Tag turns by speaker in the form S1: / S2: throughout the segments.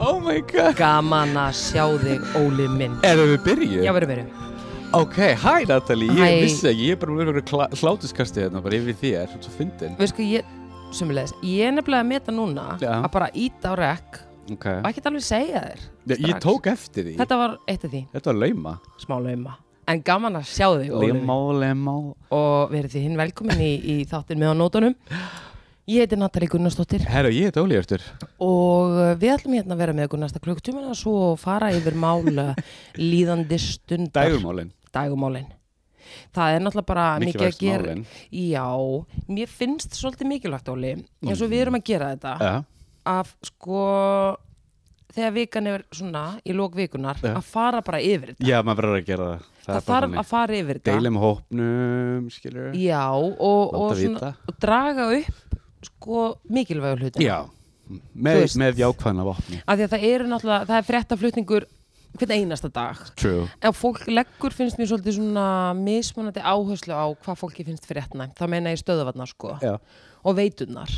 S1: Oh my god
S2: Gaman að sjá þig, Óli minn
S1: Erum við byrjuð?
S2: Já, veru, veru
S1: Ok, hæ Natalie, ég
S2: Hæ.
S1: vissi ekki, ég er bara með verið hlátuskastið hérna bara yfir þér, þú ert svo fyndin
S2: Við sko, ég, sumulegis Ég er nefnilega að meta núna
S1: Já.
S2: að bara íta á rekk
S1: Ok,
S2: og ekkert alveg segja þér
S1: ég, ég
S2: strax.
S1: tók eftir því,
S2: Þetta var eitt af því,
S1: þetta var lauma
S2: smá lauma En gaman að sjá þig, Óli minn
S1: Lemá, lemá
S2: Og verið þið hinn velkomin í, í þáttin með á nótunum Ég heiti Natalie Gunnarsdóttir
S1: Herra, ég heiti Óli Hjörtur
S2: og uh, við ætlum hérna að vera með okkur næsta klukktumina og svo fara yfir mál uh, líðandi stundar
S1: Dægumálin
S2: dagumálin það er náttúrulega bara Ah, mikið að
S1: Mikilvægst
S2: gera
S1: málin.
S2: já, mér finnst svolítið mikilvægt Óli, eins
S1: Mm.
S2: og við erum að gera þetta
S1: Já,
S2: að sko þegar vikan er svona í lók vikunar
S1: Já.
S2: að fara bara yfir þetta
S1: já maður verður að gera það
S2: það,
S1: bara
S2: þarf
S1: þannig.
S2: að fara yfir þetta
S1: Deilum hópnum, skilur
S2: já, og, og,
S1: Láta
S2: svona,
S1: vita.
S2: og draga upp sko mikilvægur hluti
S1: Já,
S2: Þú
S1: með,
S2: veist.
S1: með jákvæðna vopni
S2: af því að það eru náttúrulega, það er fréttaflutningur hvern einasta dag
S1: True
S2: En fólk leggur finnst mér svolítið svona mismunandi áherslu á hvað fólki finnst fyrir réttnæmt. Það meina ég stöðavarnar sko
S1: Já,
S2: og veitunar.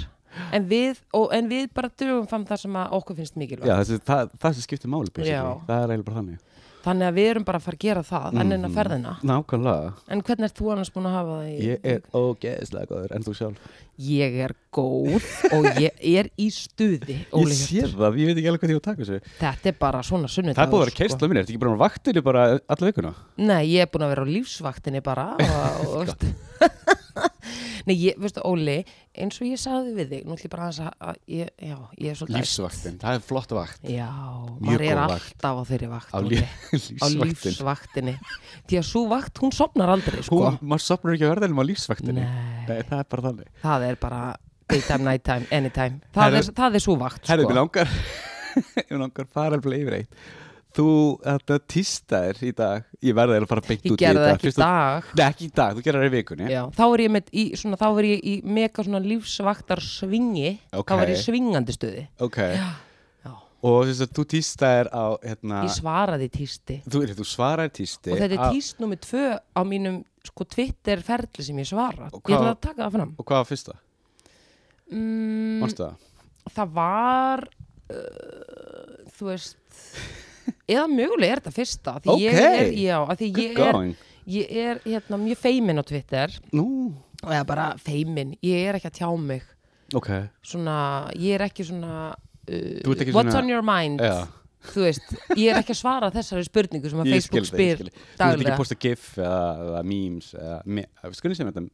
S2: En við, og, en við bara drögum fram það sem að okkur finnst
S1: já
S2: mikilvægt.
S1: þessi, það, það sem skiptir máli basically.
S2: Já.
S1: Það er eiginlega bara þannig
S2: Þannig að við erum bara að fara að gera það, mm. en
S1: Mhm.
S2: að ferðina.
S1: Nákvæmlega
S2: En hvernig ert þú annars búin að hafa það í?
S1: Ég er ógeðslega góður, en þú sjálf
S2: Ég er góð og ég er í stuði,
S1: Ég
S2: Óli
S1: sé
S2: Hjörtur.
S1: það, ég veit ekki alveg hvað ég á að taka þessu
S2: Þetta er bara svona sunnudagur.
S1: Það
S2: sko.
S1: er búið að vera keistla mín, ertu ekki bara á vaktinni bara alla vikuna?
S2: Nei, ég er búin að vera á lífsvaktinni bara og, og veist Nei, ég, veistu, Óli eins og ég sagði við þig, nú ætlum ég bara aðeins að, að ég, já, ég er svolítið
S1: Lífsvaktin, það er flott vakt
S2: Já,
S1: Mjög
S2: maður er
S1: góð vakt.
S2: alltaf á þeirri vakt
S1: Á
S2: Óli,
S1: lí-
S2: á
S1: lífsvaktin
S2: lífsvaktinni Því að svo vakt, hún sopnar aldrei, sko
S1: Hún, maður sopnar ekki að verða ennum á lífsvaktinni
S2: Nei,
S1: Nei, það er bara þannig
S2: það er bara daytime, nighttime, anytime Það,
S1: Herru-
S2: er, það er svo vakt,
S1: Herðu, mér
S2: sko
S1: langar Mér langar fara alveg yfir eitt Þú, þetta tístaðir í dag Ég verði að fara beint
S2: Ég
S1: út í
S2: gerði það ekki í
S1: fyrst að-
S2: dag
S1: Nei, ekki í dag, þú gerði það í vikunni
S2: Já, þá er ég með, í, svona, þá er ég í mega svona lífsvaktar svingi
S1: Ok.
S2: Þá er ég í svingandi stuði
S1: Ok,
S2: Já.
S1: og þess að þú tístaðir á hérna,
S2: Ég svaraði tísti
S1: þú, þú svarar tísti
S2: og þetta er
S1: á-
S2: tíst nummið tvö á mínum sko Twitter ferli sem ég svara
S1: Og
S2: ég ætla
S1: hvað-
S2: að taka það fram
S1: Og hvað var fyrsta?
S2: mm,
S1: Manstu það?
S2: það var uh, þú veist eða mögulega er þetta fyrsta því ég
S1: Ókei.
S2: er, já, af því
S1: Good
S2: ég er,
S1: going.
S2: ég er hérna, mjög feimin á Twitter
S1: Nú,
S2: og eða bara feimin, ég er ekki að tjá mig
S1: ok
S2: svona, ég er ekki svona uh,
S1: Þú ert ekki
S2: Eh, what's
S1: svona-
S2: on your mind
S1: Já.
S2: þú veist, ég er ekki að svara þessari spurningu sem að
S1: Ég skil þig,
S2: Facebook
S1: ég skil
S2: spyr
S1: þig. Þú ert ekki
S2: daglega
S1: að posta gif eða, eða memes eða, me, skoðum sem þetta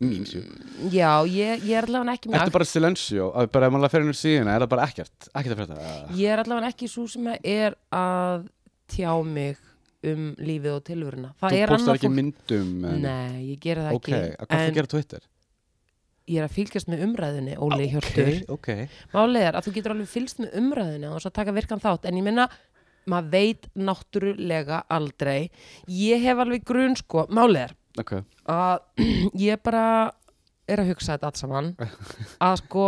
S1: memes jú.
S2: Mm, Já, ég, ég er allavega ekki með
S1: Ertu bara silencio, að bara ef maður að fyrir hennar síðan er það bara ekkert, ekkert að fyrir þetta
S2: Ég er allavega ekki svo sem er að tjá mig um lífið og tilvöruna. Það
S1: Þú
S2: er
S1: postar
S2: annað
S1: ekki
S2: fólk.
S1: myndum en,
S2: Nei, ég gera það
S1: Ok, að
S2: ekki.
S1: hvað þú gera á Twitter?
S2: ég er að fylgjast með umræðinni, Óli okay. Hjörtur.
S1: Ok, ok
S2: Málið er að þú getur alveg fylgst með umræðinni og þess að taka virkan þátt. En ég minna, maður veit náttúrulega aldrei. Ég hef alveg grun, sko. Málið er
S1: Ok,
S2: að ég bara er að hugsa þetta allt saman að sko,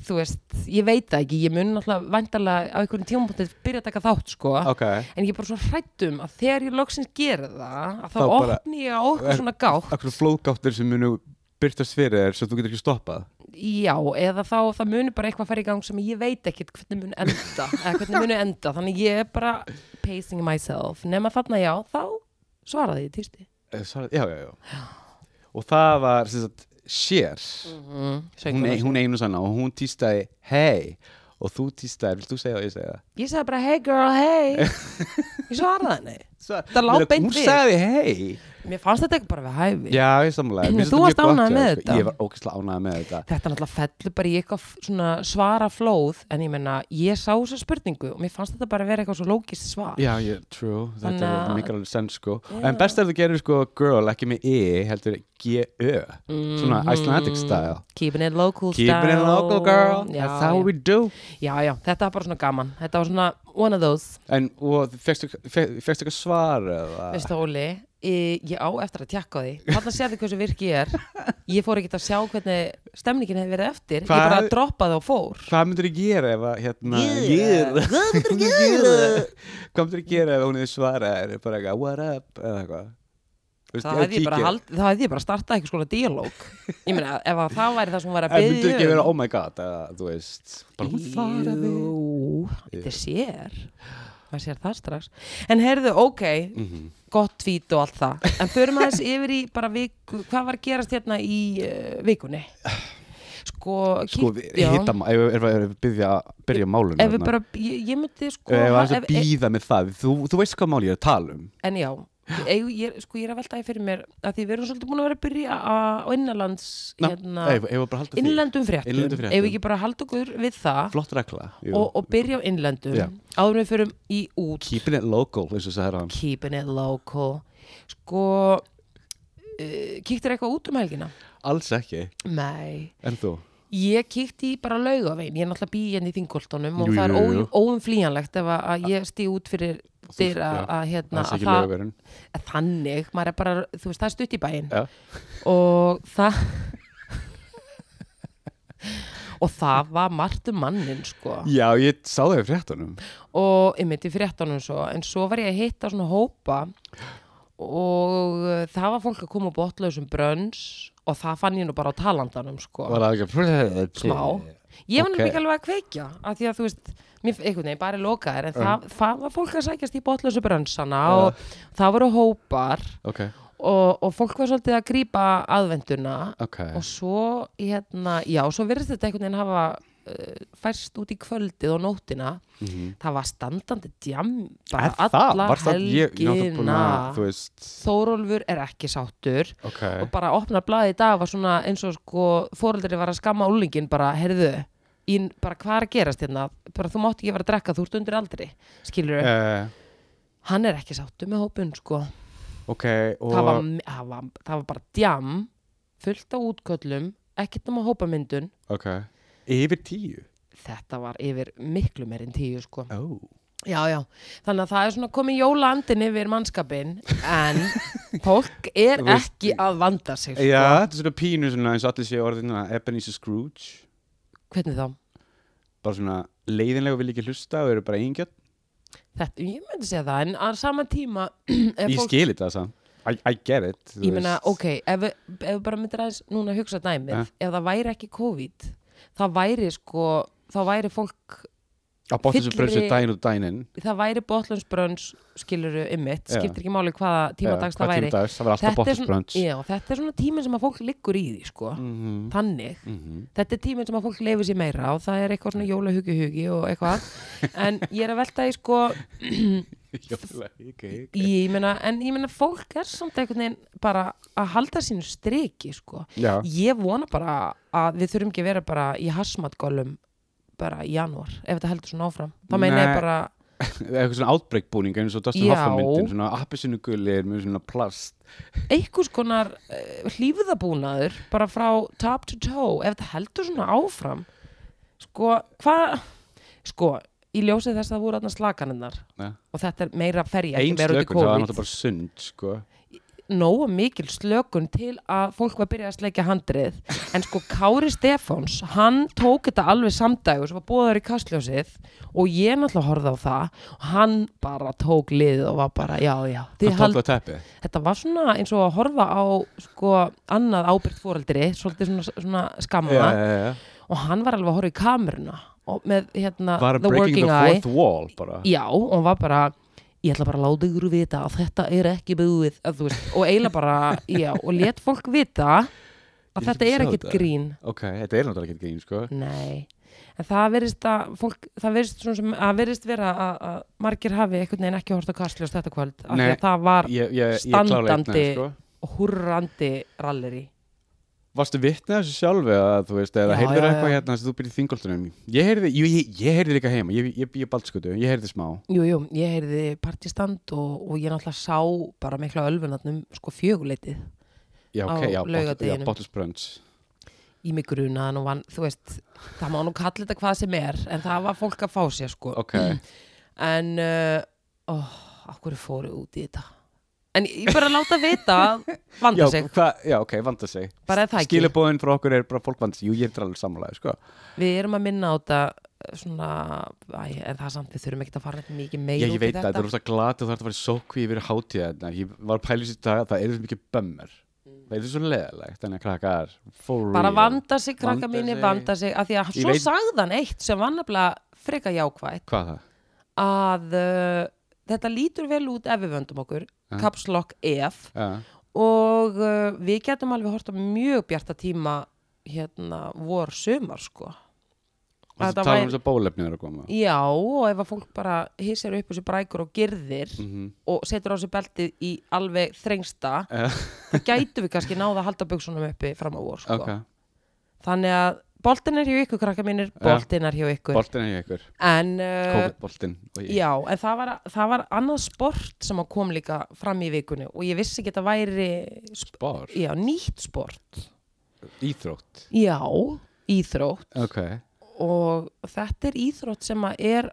S2: þú veist, ég veit það ekki ég mun náttúrulega væntalega á einhverjum tímapunkti byrja að taka þátt sko
S1: okay.
S2: en ég er bara svo hrættum að þegar ég loksins gera það að þá,
S1: Þá bara-
S2: opni ég á okkur
S1: Er-
S2: svona gátt
S1: Akkur flóðgáttir sem munu byrtast fyrir þér sem þú getur ekki stoppað
S2: já, eða þá það muni bara eitthvað fara í gang sem ég veit ekkit hvernig mun enda eða hvernig muni enda, þannig ég er bara pacing myself, nema þarna já þá svaraði ég týsti
S1: Eh, Svarað, já, já, já Og það var, sem sagt, Cher
S2: mm,
S1: hún, ein- hún einu sann og hún týstaði hei og þú týstaði, vil þú segja það ég segja það?
S2: ég sagði bara hey girl, hey ég svaraði henni
S1: Svo-
S2: Það lá
S1: Meina,
S2: beint
S1: Hún
S2: við.
S1: sagði hei
S2: mér fannst þetta ekki bara við hæfi
S1: Já, ég samlega
S2: Þú varst ánægð með þetta?
S1: sko. Ég var ógæslega ánægð með þetta
S2: þetta náttúrulega fellur bara í eitthvað f- svona svara flóð en ég menna, ég sá þessa spurningu og mér fannst þetta bara vera eitthvað svo lókist svar
S1: Já, yeah, true, þetta
S2: Þannig
S1: er
S2: að-
S1: mikil alveg sens sko
S2: Já.
S1: En best er þú gerir sko girl, ekki með e, heldur G-Ö Svona Icelandic style
S2: Mhm. Keeping it Mm. local
S1: Keep it in
S2: style.
S1: local girl,
S2: já,
S1: that's how
S2: já.
S1: we do
S2: já, já, þetta var bara svona gaman Þetta var svona one of those
S1: En, og fegstu eitthvað svar eða
S2: Veistu Óli, e, ég á eftir að tjekka á því Þarna séðu hversu virk ég er Ég fór ekkert að sjá hvernig stemningin hefði verið eftir
S1: Hvað-
S2: Ég bara droppaði og fór
S1: Hvað myndir þú gera ef að, hérna,
S2: Gera.
S1: gera? Hvað myndir þú gera? Hvað myndir þú gera ef hún hefði svarað þér bara eitthvað, what up, eða eitthvað? Þú veist,
S2: það
S1: ef
S2: hefði ég, bara
S1: kíkja-
S2: hald- þá hefði ég bara startað eitthvað skona díalóg ég meina, ef að það væri það sem hún var að um.
S1: En
S2: byggja
S1: myndu ekki vera oh my god eða, þú veist, bara hún fara þig
S2: Jú, þetta er sér maður sér það strax en heyrðu, ok,
S1: Mhm.
S2: gott tvít og allt það en förum aðeins yfir í bara viku hvað var að gerast hérna í uh, vikunni sko,
S1: Sko,
S2: kíkt-
S1: við-
S2: já.
S1: hitta ma- ef ef- ef við byrja byrja málun
S2: ef við bara, ég, ég myndi sko
S1: Ef
S2: ha-
S1: það er að býða með það þú, þú veist hvað mál ég er að tala um
S2: en já Ég, ég, sko, ég er að velta því fyrir mér að því við erum svolítið búin að vera að byrja á innanlands
S1: Ná,
S2: hérna,
S1: ef, ef við bara halda því
S2: innlendum fréttum,
S1: Innlendum fréttum.
S2: ef við ekki bara halda okkur við það
S1: Flott regla jú.
S2: og, og byrja á innlendum
S1: Já.
S2: áður en við förum í út
S1: Keeping it local, eins og sagði hann
S2: keeping it local sko uh, kíktir eitthvað út um helgina?
S1: Alls ekki,
S2: Nei
S1: en þú?
S2: ég kíkti í bara laugavein, ég er náttúrulega býi hérna í þingoltunum og
S1: Jú,
S2: það
S1: jú,
S2: er
S1: jú.
S2: ó- óumflýjanlegt ef að- að ég stíð út fyrir dyr
S1: já,
S2: að, að hérna
S1: Alls
S2: að
S1: ekki
S2: það,
S1: lögurinn
S2: að þannig, maður er bara þú veist, það er stutt í bæinn
S1: Já.
S2: og það og það var margt um mannin sko
S1: Já, ég sá það í fréttunum
S2: og einmitt í fréttanum svo en svo var ég að hitta svona hópa og uh, það var fólk að koma upp botlausum brönns og það fann ég nú bara á talandanum sko,
S1: Var það ekki
S2: smá ég
S1: Ok.
S2: var nefnilega ekki alveg að kveikja af því að þú veist, mér, einhvern veginn bara er lokaðir
S1: Mm.
S2: en það, það var fólk að sækjast í botlausum brönnsana og það voru hópar
S1: Ok,
S2: og, og fólk var svolítið að grípa aðvenduna
S1: ok
S2: og svo hérna, já, svo virðist þetta einhvern veginn hafa uh, færst út í kvöldið og nóttina
S1: Mhm.
S2: það var standandi djam
S1: Er
S2: bara
S1: það?
S2: alla
S1: Var það? Ég, ég átti búin
S2: helgina
S1: að, þú veist
S2: Þórólfur er ekki sáttur
S1: Ok,
S2: og bara opna blaði í dag var svona eins og sko fóreldri var að skamma úlingin bara, heyrðu, ín, bara hvað er að gerast hérna, bara þú mátt ekki vera að drekka þú ert undir aldri, skilur
S1: uh,
S2: hann er ekki sáttur með hópun sko
S1: ok og,
S2: það var, það, var, það var bara djam fullt á útköllum, ekkert um að hópa myndun
S1: Ok Yfir tíu
S2: þetta var yfir miklu meir en tíu sko
S1: oh.
S2: Já, já, þannig að það er svona komið jólandin yfir mannskapin en fólk er
S1: Þú veist-
S2: ekki að vanda sig sko.
S1: Já, þetta er svona pínu svona eins og allir séu orðin svona Ebenezer Scrooge
S2: Hvernig þá?
S1: bara svona leiðinlega og vil ekki hlusta og eru bara eingjörn
S2: Þetta, ég myndi segja það, en að sama tíma
S1: Ég
S2: Ég
S1: skil þetta samt I, I get it þú
S2: Ég meina,
S1: veist.
S2: ok, ef, við- ef við bara myndir aðeins núna hugsa dæmið,
S1: Ja.
S2: ef það væri ekki COVID þá væri sko þá væri fólk,
S1: Að bótt þessu
S2: fyllri-
S1: bröðsum daginn og daginn inn
S2: það væri botlunnsbrönns skiluru ymmit,
S1: Já.
S2: skiptir ekki máli hvaða tímadags það væri
S1: Tímadags, það var alltaf
S2: þetta, er
S1: bótt
S2: svona,
S1: brönds
S2: já, þetta er svona tíminn sem að fólk liggur í því sko,
S1: Mhm,
S2: þannig
S1: mhm.
S2: þetta er tíminn sem að fólk leifir sér meira og það er eitthvað svona jólahugi-hugi og eitthvað en ég er að velta í sko
S1: Jólahyggja, ok.
S2: ég meina, en ég meina fólk er samt einhvern veginn bara að halda sínu striki sko.
S1: Já,
S2: ég vona bara að við þurfum ekki að vera bara í hasmatgólum bara í janúar, ef þetta heldur svona áfram þá meina ég
S1: Nei.
S2: bara,
S1: eitthvað svona outbreak-búning eins og Dustin
S2: Já.
S1: Hoffman myndin, svona appisinu með svona plast
S2: einhvers konar uh, hlýfðabúnaður bara frá top to toe ef þetta heldur svona áfram sko, hvað sko, í ljósið þess að það voru þarna slakaninnar
S1: Ja.
S2: og þetta er meira ferja ekki
S1: Einn
S2: meira út í
S1: slökun, það var
S2: COVID.
S1: náttúrulega bara sund sko.
S2: nógu mikil slökun til að fólk var að byrja að sleikja handrið en sko Kári Stefáns hann tók þetta alveg samdægu sem var búðar í kastljósið og ég náttúrulega horfði á það og hann bara tók lið og var bara já já þið
S1: Hann
S2: hald,
S1: tók það á teppi
S2: þetta var svona eins og að horfa á sko annað ábyrgt fóreldri svolítið svona, svona skamma
S1: Já, já, já.
S2: og hann var alveg að horfa í kameruna og með hérna
S1: Var
S2: the
S1: breaking
S2: working
S1: the
S2: eye
S1: fourth wall bara
S2: já, og hann var bara ég ætla bara að láta ykkur vita að þetta er ekki búið að, þú veist, og eiginlega bara já, og let fólk vita
S1: Ég
S2: að
S1: er ekki
S2: þetta
S1: að
S2: er
S1: sjá
S2: ekkit
S1: þetta.
S2: grín
S1: Ok, þetta er náttúrulega ekki grín, sko.
S2: nei, en það verist að fólk, það verist svona sem að verist vera að, að margir hafi einhvern veginn ekki hort á kastljós þetta kvöld, af því
S1: Nei.
S2: að það var
S1: Ég, ég, ég klála
S2: Standandi.
S1: einna, sko.
S2: hurrandi ralleri
S1: Varstu vitnið þessu sjálf eða, þú veist, eða
S2: Já,
S1: heyrður
S2: já,
S1: eitthvað
S2: já.
S1: hérna sem þú byrjið þingoltunum? Ég heyrði, jú, ég, ég heyrði líka heima, ég, ég býði baldskutu, ég heyrði smá.
S2: Jú, jú, ég heyrði partistand og, og ég náttúrulega sá bara mikla ölfunatnum sko fjöguleitið
S1: Já,
S2: Á
S1: ok, já, bot- já,
S2: laugardeginum.
S1: Bottles Brunch.
S2: í mig grunaðan og vann, þú veist, það má nú kalla þetta hvað sem er, en það var fólk að fá sér sko.
S1: Ok,
S2: En, uh, óh, akkur fóru út í þetta. En ég ég bara láta vita að
S1: já,
S2: vanda sig,
S1: hva, já, ok, vanda sig.
S2: bara er það ekki.
S1: Skilabóðin frá okkur er bara fólk vanda sig, jú, ég er alveg samlega, sko.
S2: Við erum að minna á þetta uh, svona, æ, en það er samt við þurfum ekki að fara neitt mikið
S1: Ég,
S2: meira
S1: ég
S2: út í
S1: veit að þetta er rosa glat og það er að fara í sókví yfir hátíðarnar Ég var pælið sér dag að það er svo mikið bömmar Það er svo leðalegt Þannig að krakkar for
S2: Mm. bara
S1: real.
S2: vanda sig, krakka
S1: Vanda
S2: mínir,
S1: sig.
S2: vanda sig af því að
S1: Ég
S2: svo
S1: veit-
S2: sagðan eitt sem var nefnilega freka jákvætt
S1: Hvað það?
S2: að uh, þetta lítur vel út ef við vöndum okkur,
S1: Ja.
S2: caps lock ef
S1: Ja.
S2: og uh, við getum alveg hort á mjög bjarta tíma hérna vor sumar sko
S1: Og
S2: Þetta
S1: Það tala
S2: væri-
S1: um þess að bólefni er að koma
S2: já og ef að fólk bara hissir upp þessu brækur og girðir
S1: Mhm.
S2: og setur á sig beltið í alveg þrengsta
S1: Ja.
S2: þá gætu við kannski náða að halda buksunum uppi fram á vor sko
S1: Ok,
S2: þannig að boltin er hjá ykkur krakka mínir,
S1: Ja.
S2: boltin er hjá ykkur
S1: boltin er ég ykkur
S2: en uh,
S1: COVID-boltin Og ég-
S2: Já, en það var, það var annað sport sem að kom líka fram í vikunni og ég vissi ekki að það væri sp-
S1: Sport,
S2: já, nýtt sport
S1: íþrótt
S2: Já, íþrótt
S1: Ok,
S2: og þetta er íþrótt sem að er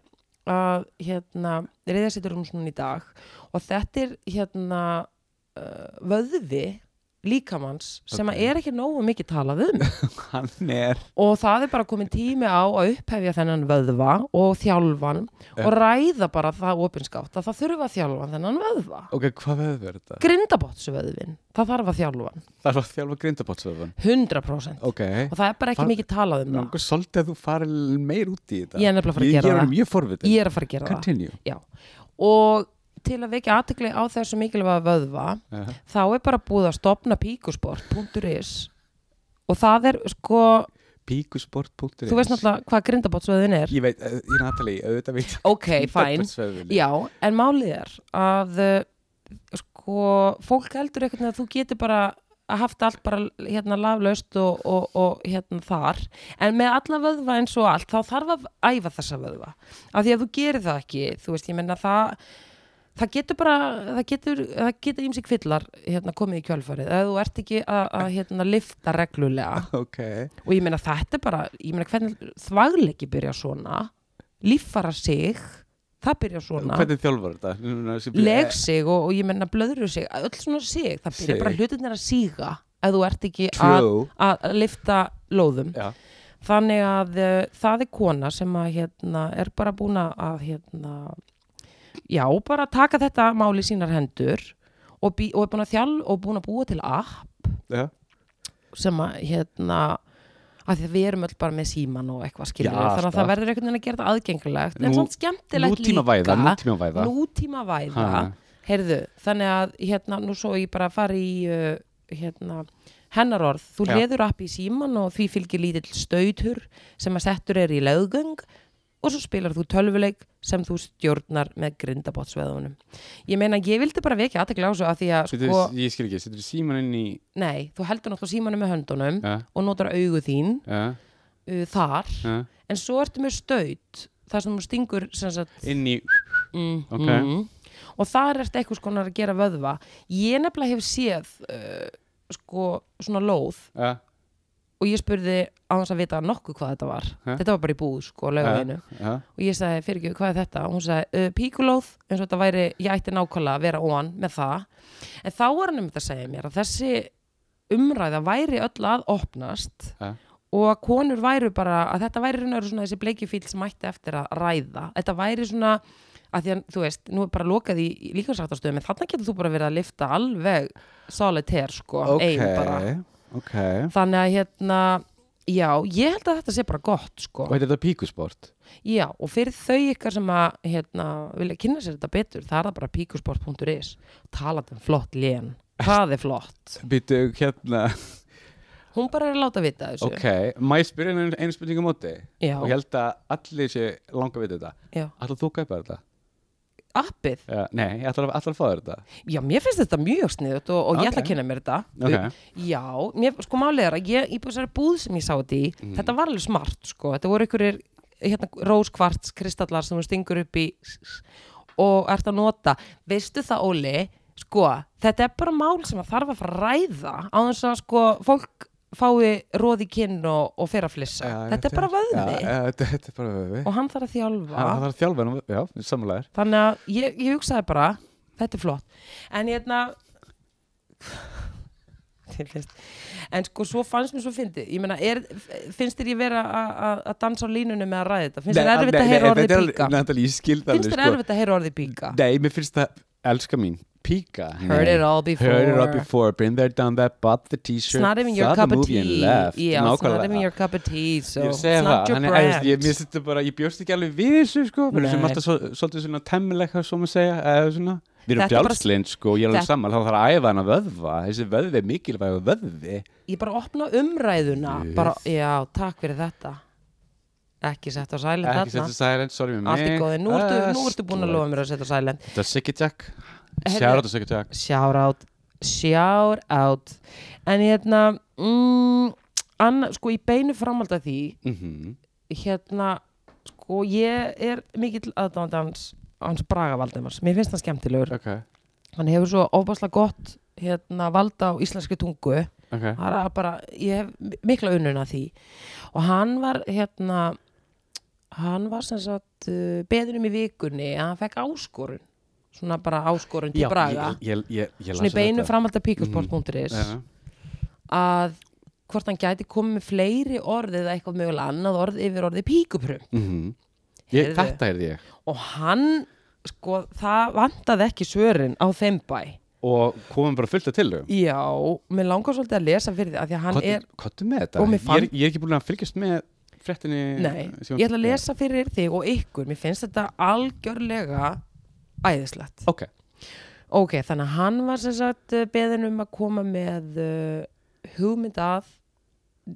S2: að hérna, reyða sittur um svona í dag og þetta er hérna uh, vöðvi líkamanns sem að
S1: Ok.
S2: er ekki nógu mikið talað um
S1: hann er
S2: og það er bara komin tími á að upphefja þennan vöðva og þjálfan og ræða bara það opinskátt að það þurfa að þjálfa þennan vöðva
S1: Ok, hvað veður er þetta?
S2: grindabottsvöðvin, það þarf að þjálfa hann.
S1: Það var að þjálfa grindabotsvöðun
S2: 100%
S1: Ok,
S2: og það er bara ekki
S1: Það-
S2: mikið talað um það
S1: langar svolítið að þú farir meir út í þetta
S2: Ég er nefnilega að fara að
S1: Ég-
S2: gera
S1: Ég er
S2: það.
S1: mjög forvitin
S2: ég er að fara að gera það
S1: Continue
S2: og til að vekja aðtekli á þessu mikilvæga vöðva
S1: uh,
S2: þá er bara búið að stopna píkusport.is og það er sko
S1: Píkusport.is
S2: þú veist náttúrulega hvað grindabottsvöðvin er
S1: Ég veit, uh, ég Natalie, auðvitað veit
S2: ok, fæn
S1: Grindabotnsvöðvinn.
S2: Já, en málið er að uh, sko, fólk heldur einhvern veginn að þú getur bara að haft allt bara hérna laflaust og, og, og hérna þar en með alla vöðva eins og allt þá þarf að æfa þessa vöðva af því að þú gerir það ekki, þú veist, ég menna það það getur bara það getur, það getur ímsi kvillar hérna komið í kjálfarið, ef þú ert ekki að, að hérna lifta reglulega
S1: Ok,
S2: og ég meina þetta er bara ég meina hvernig þvagleiki byrja svona líffara sig það byrja svona
S1: hvernig þjálfur þetta? Núna sem-
S2: leg sig og, og ég menna blöðru sig öll svona sig, það byrja
S1: Sig.
S2: bara hlutinir að síga ef þú ert ekki að,
S1: True Eh.
S2: að lifta lóðum
S1: Já.
S2: þannig að uh, það er kona sem að hérna, er bara búin að hérna, já, bara taka þetta máli sínar hendur og, bí, og er búin að þjálf og búin að búa til app
S1: Já,
S2: sem að hérna að því að við erum öll bara með síman og eitthvað skiljum
S1: Já,
S2: þannig að það
S1: alltaf.
S2: verður einhvern veginn að gera það aðgengilegt en
S1: Nú-
S2: samt skemmtilegt
S1: Nútíma væða,
S2: líka
S1: nútíma væða
S2: nútíma væða
S1: Ha.
S2: heyrðu, þannig að hérna nú svo ég bara fari í uh, hérna, hennar orð, þú
S1: Já.
S2: leður upp í síman og því fylgir lítill stautur sem að settur er í lögöng og svo spilar þú tölvuleik sem þú stjórnar með grindabótsveðunum ég meina, ég vildi bara vekja aðtekla á þessu að því að
S1: Setur,
S2: sko,
S1: Ég skil ekki, setur síman inn í
S2: nei, þú heldur náttúrulega símanum með höndunum
S1: Já,
S2: og notar augu þín
S1: já,
S2: uh, þar
S1: já
S2: en svo ertu með staut þar sem þú stingur sem sagt,
S1: Inn í
S2: mm,
S1: Ok.
S2: og þar ertu eitthvað skonar að gera vöðva ég nefnilega hef séð uh, sko svona lóð
S1: Já,
S2: og ég spurði á þess að vita nokkuð hvað þetta var
S1: Ha?
S2: þetta var bara í búð sko lögveinu
S1: já
S2: og ég sagði fyrir ekki hvað er þetta og hún sagði uh, píkulóð eins og þetta væri ég ætti nákvæmlega að vera óan með það en þá var hann um þetta að segja mér að þessi umræða væri öll að opnast
S1: Ja.
S2: og að konur væru bara að þetta væri raun og veru svona þessi bleikifíl sem ætti eftir að ræða þetta væri svona að því að þú veist, nú er bara lokað í líkansrættastöðum en þarna getur þú bara verið að lifta alveg solitaire sko,
S1: Ok,
S2: ein bara
S1: ok
S2: þannig að hérna, já, ég held að þetta sé bara gott sko
S1: Og heitir þetta píkusport?
S2: Já, og fyrir þau ykkar sem að hérna, vilja kynna sér þetta betur það er það bara píkusport.is talað um flott lén, það er flott
S1: Býtu hérna
S2: hún bara er að láta vita þessu
S1: Ok, má ég spyrja einu, einu spurningu á móti?
S2: Já,
S1: Og ég held að allir sé langa við þetta
S2: já,
S1: Ætlar þú að kaupa þetta?
S2: appið
S1: Já, nei, ég ætlar, ætlar að fá þér þetta
S2: Já, mér finnst þetta mjög sniðut og, og ég ætla
S1: Ok.
S2: að kynna mér þetta
S1: Ok,
S2: Já, mér, sko málið er að ég í þessari búð sem ég sá þetta í
S1: Mm.
S2: þetta var alveg smart, sko, þetta voru einhverjir hérna, róskvarts kristallar sem hún stingur upp í og ert að nota veistu það Óli, sko þetta er bara mál sem að þarf að fara að ræða á þess að sko fólk fái róð í kinn og, og fer að flissa
S1: Já,
S2: þetta er bara vöðvi
S1: Já, já, þetta, þetta er bara vöðvi
S2: og hann þarf að þjálfa
S1: Það þarf að þjálfa hennar, já, samanlega er
S2: þannig að ég, ég hugsaði bara þetta er flott en hérna þér finnst en sko svo fannst mér svo fyndið ég meina, er, finnst þér ég vera a- a- að dansa á línunum með að ræða þetta finnst þér erfitt að heyra orðið píka
S1: Natalie, ég skil það
S2: finnst þér erfitt að heyra orðið píka
S1: sko. Nei, mér finnst það, elska mín, píka nei.
S2: heard it all before,
S1: Heard it all before, been there, done that, bought the
S2: it's
S1: t-shirt
S2: not even
S1: saw
S2: your
S1: the
S2: cup of
S1: movie
S2: tea
S1: and left.
S2: yeah, it's not
S1: Nákvæmlega.
S2: even your cup of tea so
S1: Ég
S2: it's
S1: segi það,
S2: not your
S1: þannig að
S2: brand
S1: ég, ég, mér finnst þetta bara, ég bjóst ekki alveg við þessu sko, við erum
S2: Nei.
S1: alltaf svo, svolítið svona temmilega svo maður segja, eða svona Við erum
S2: Þetta bara-
S1: frjálslind sko, ég er alveg
S2: Þetta-
S1: saman, þá þarf að æfa hana vöðva, þessi vöðvi er mikilvæg vöðvi
S2: ég bara opna umræðuna
S1: Yes.
S2: bara, já, takk fyrir þetta ekki sett á sæli
S1: Ekki
S2: þarna
S1: setja silent, sorry með mig
S2: allt í góði, nú ertu,
S1: Ah,
S2: nú ertu búin að
S1: slett.
S2: lofa mér að setja á sæli
S1: Þetta er Siggy Jack,
S2: Heyrðu-
S1: sjára þetta Siggy Jack
S2: shout out shout out en hérna mm, anna, sko í beinu framhald af því
S1: Mhm.
S2: hérna sko ég er mikill aðdáðandi hans hans Braga Valdemars, mér finnst hann skemmtilegur
S1: Ok,
S2: hann hefur svo ofbáslega gott hérna vald á íslenski tungu
S1: ok
S2: það er bara, ég hef mi- mikla unnuna því og hann var hérna hann var sem sagt uh, beðin um í vikunni að hann fekk áskorun svona bara áskorun til
S1: Já,
S2: Braga
S1: ég, ég, ég, ég
S2: svona í
S1: las
S2: beinu
S1: þetta. Mhm,
S2: framhald af píkusport.is
S1: Já.
S2: að hvort hann gæti komið með fleiri orð eða eitthvað mögulega annað orð yfir orðið píkuprum
S1: Mhm. Ég-
S2: Heyrðu.
S1: Þetta er ég
S2: og hann, sko, það vantaði ekki svörin á þeim bæ
S1: og komum bara fullt af tillögum
S2: já, mér langar svolítið að lesa fyrir því að því að hann
S1: Hvað
S2: er
S1: hvað er með þetta?
S2: Og
S1: Ég
S2: mér
S1: er,
S2: fann-
S1: ég er ekki búin að fylgjast með fréttinni
S2: Nei,
S1: sem-
S2: ég ætla að lesa fyrir þig og ykkur, mér finnst þetta algjörlega æðislegt.
S1: Ok,
S2: Ok, þannig að hann var sem sagt eh, beðinn um að koma með uh, hugmynd að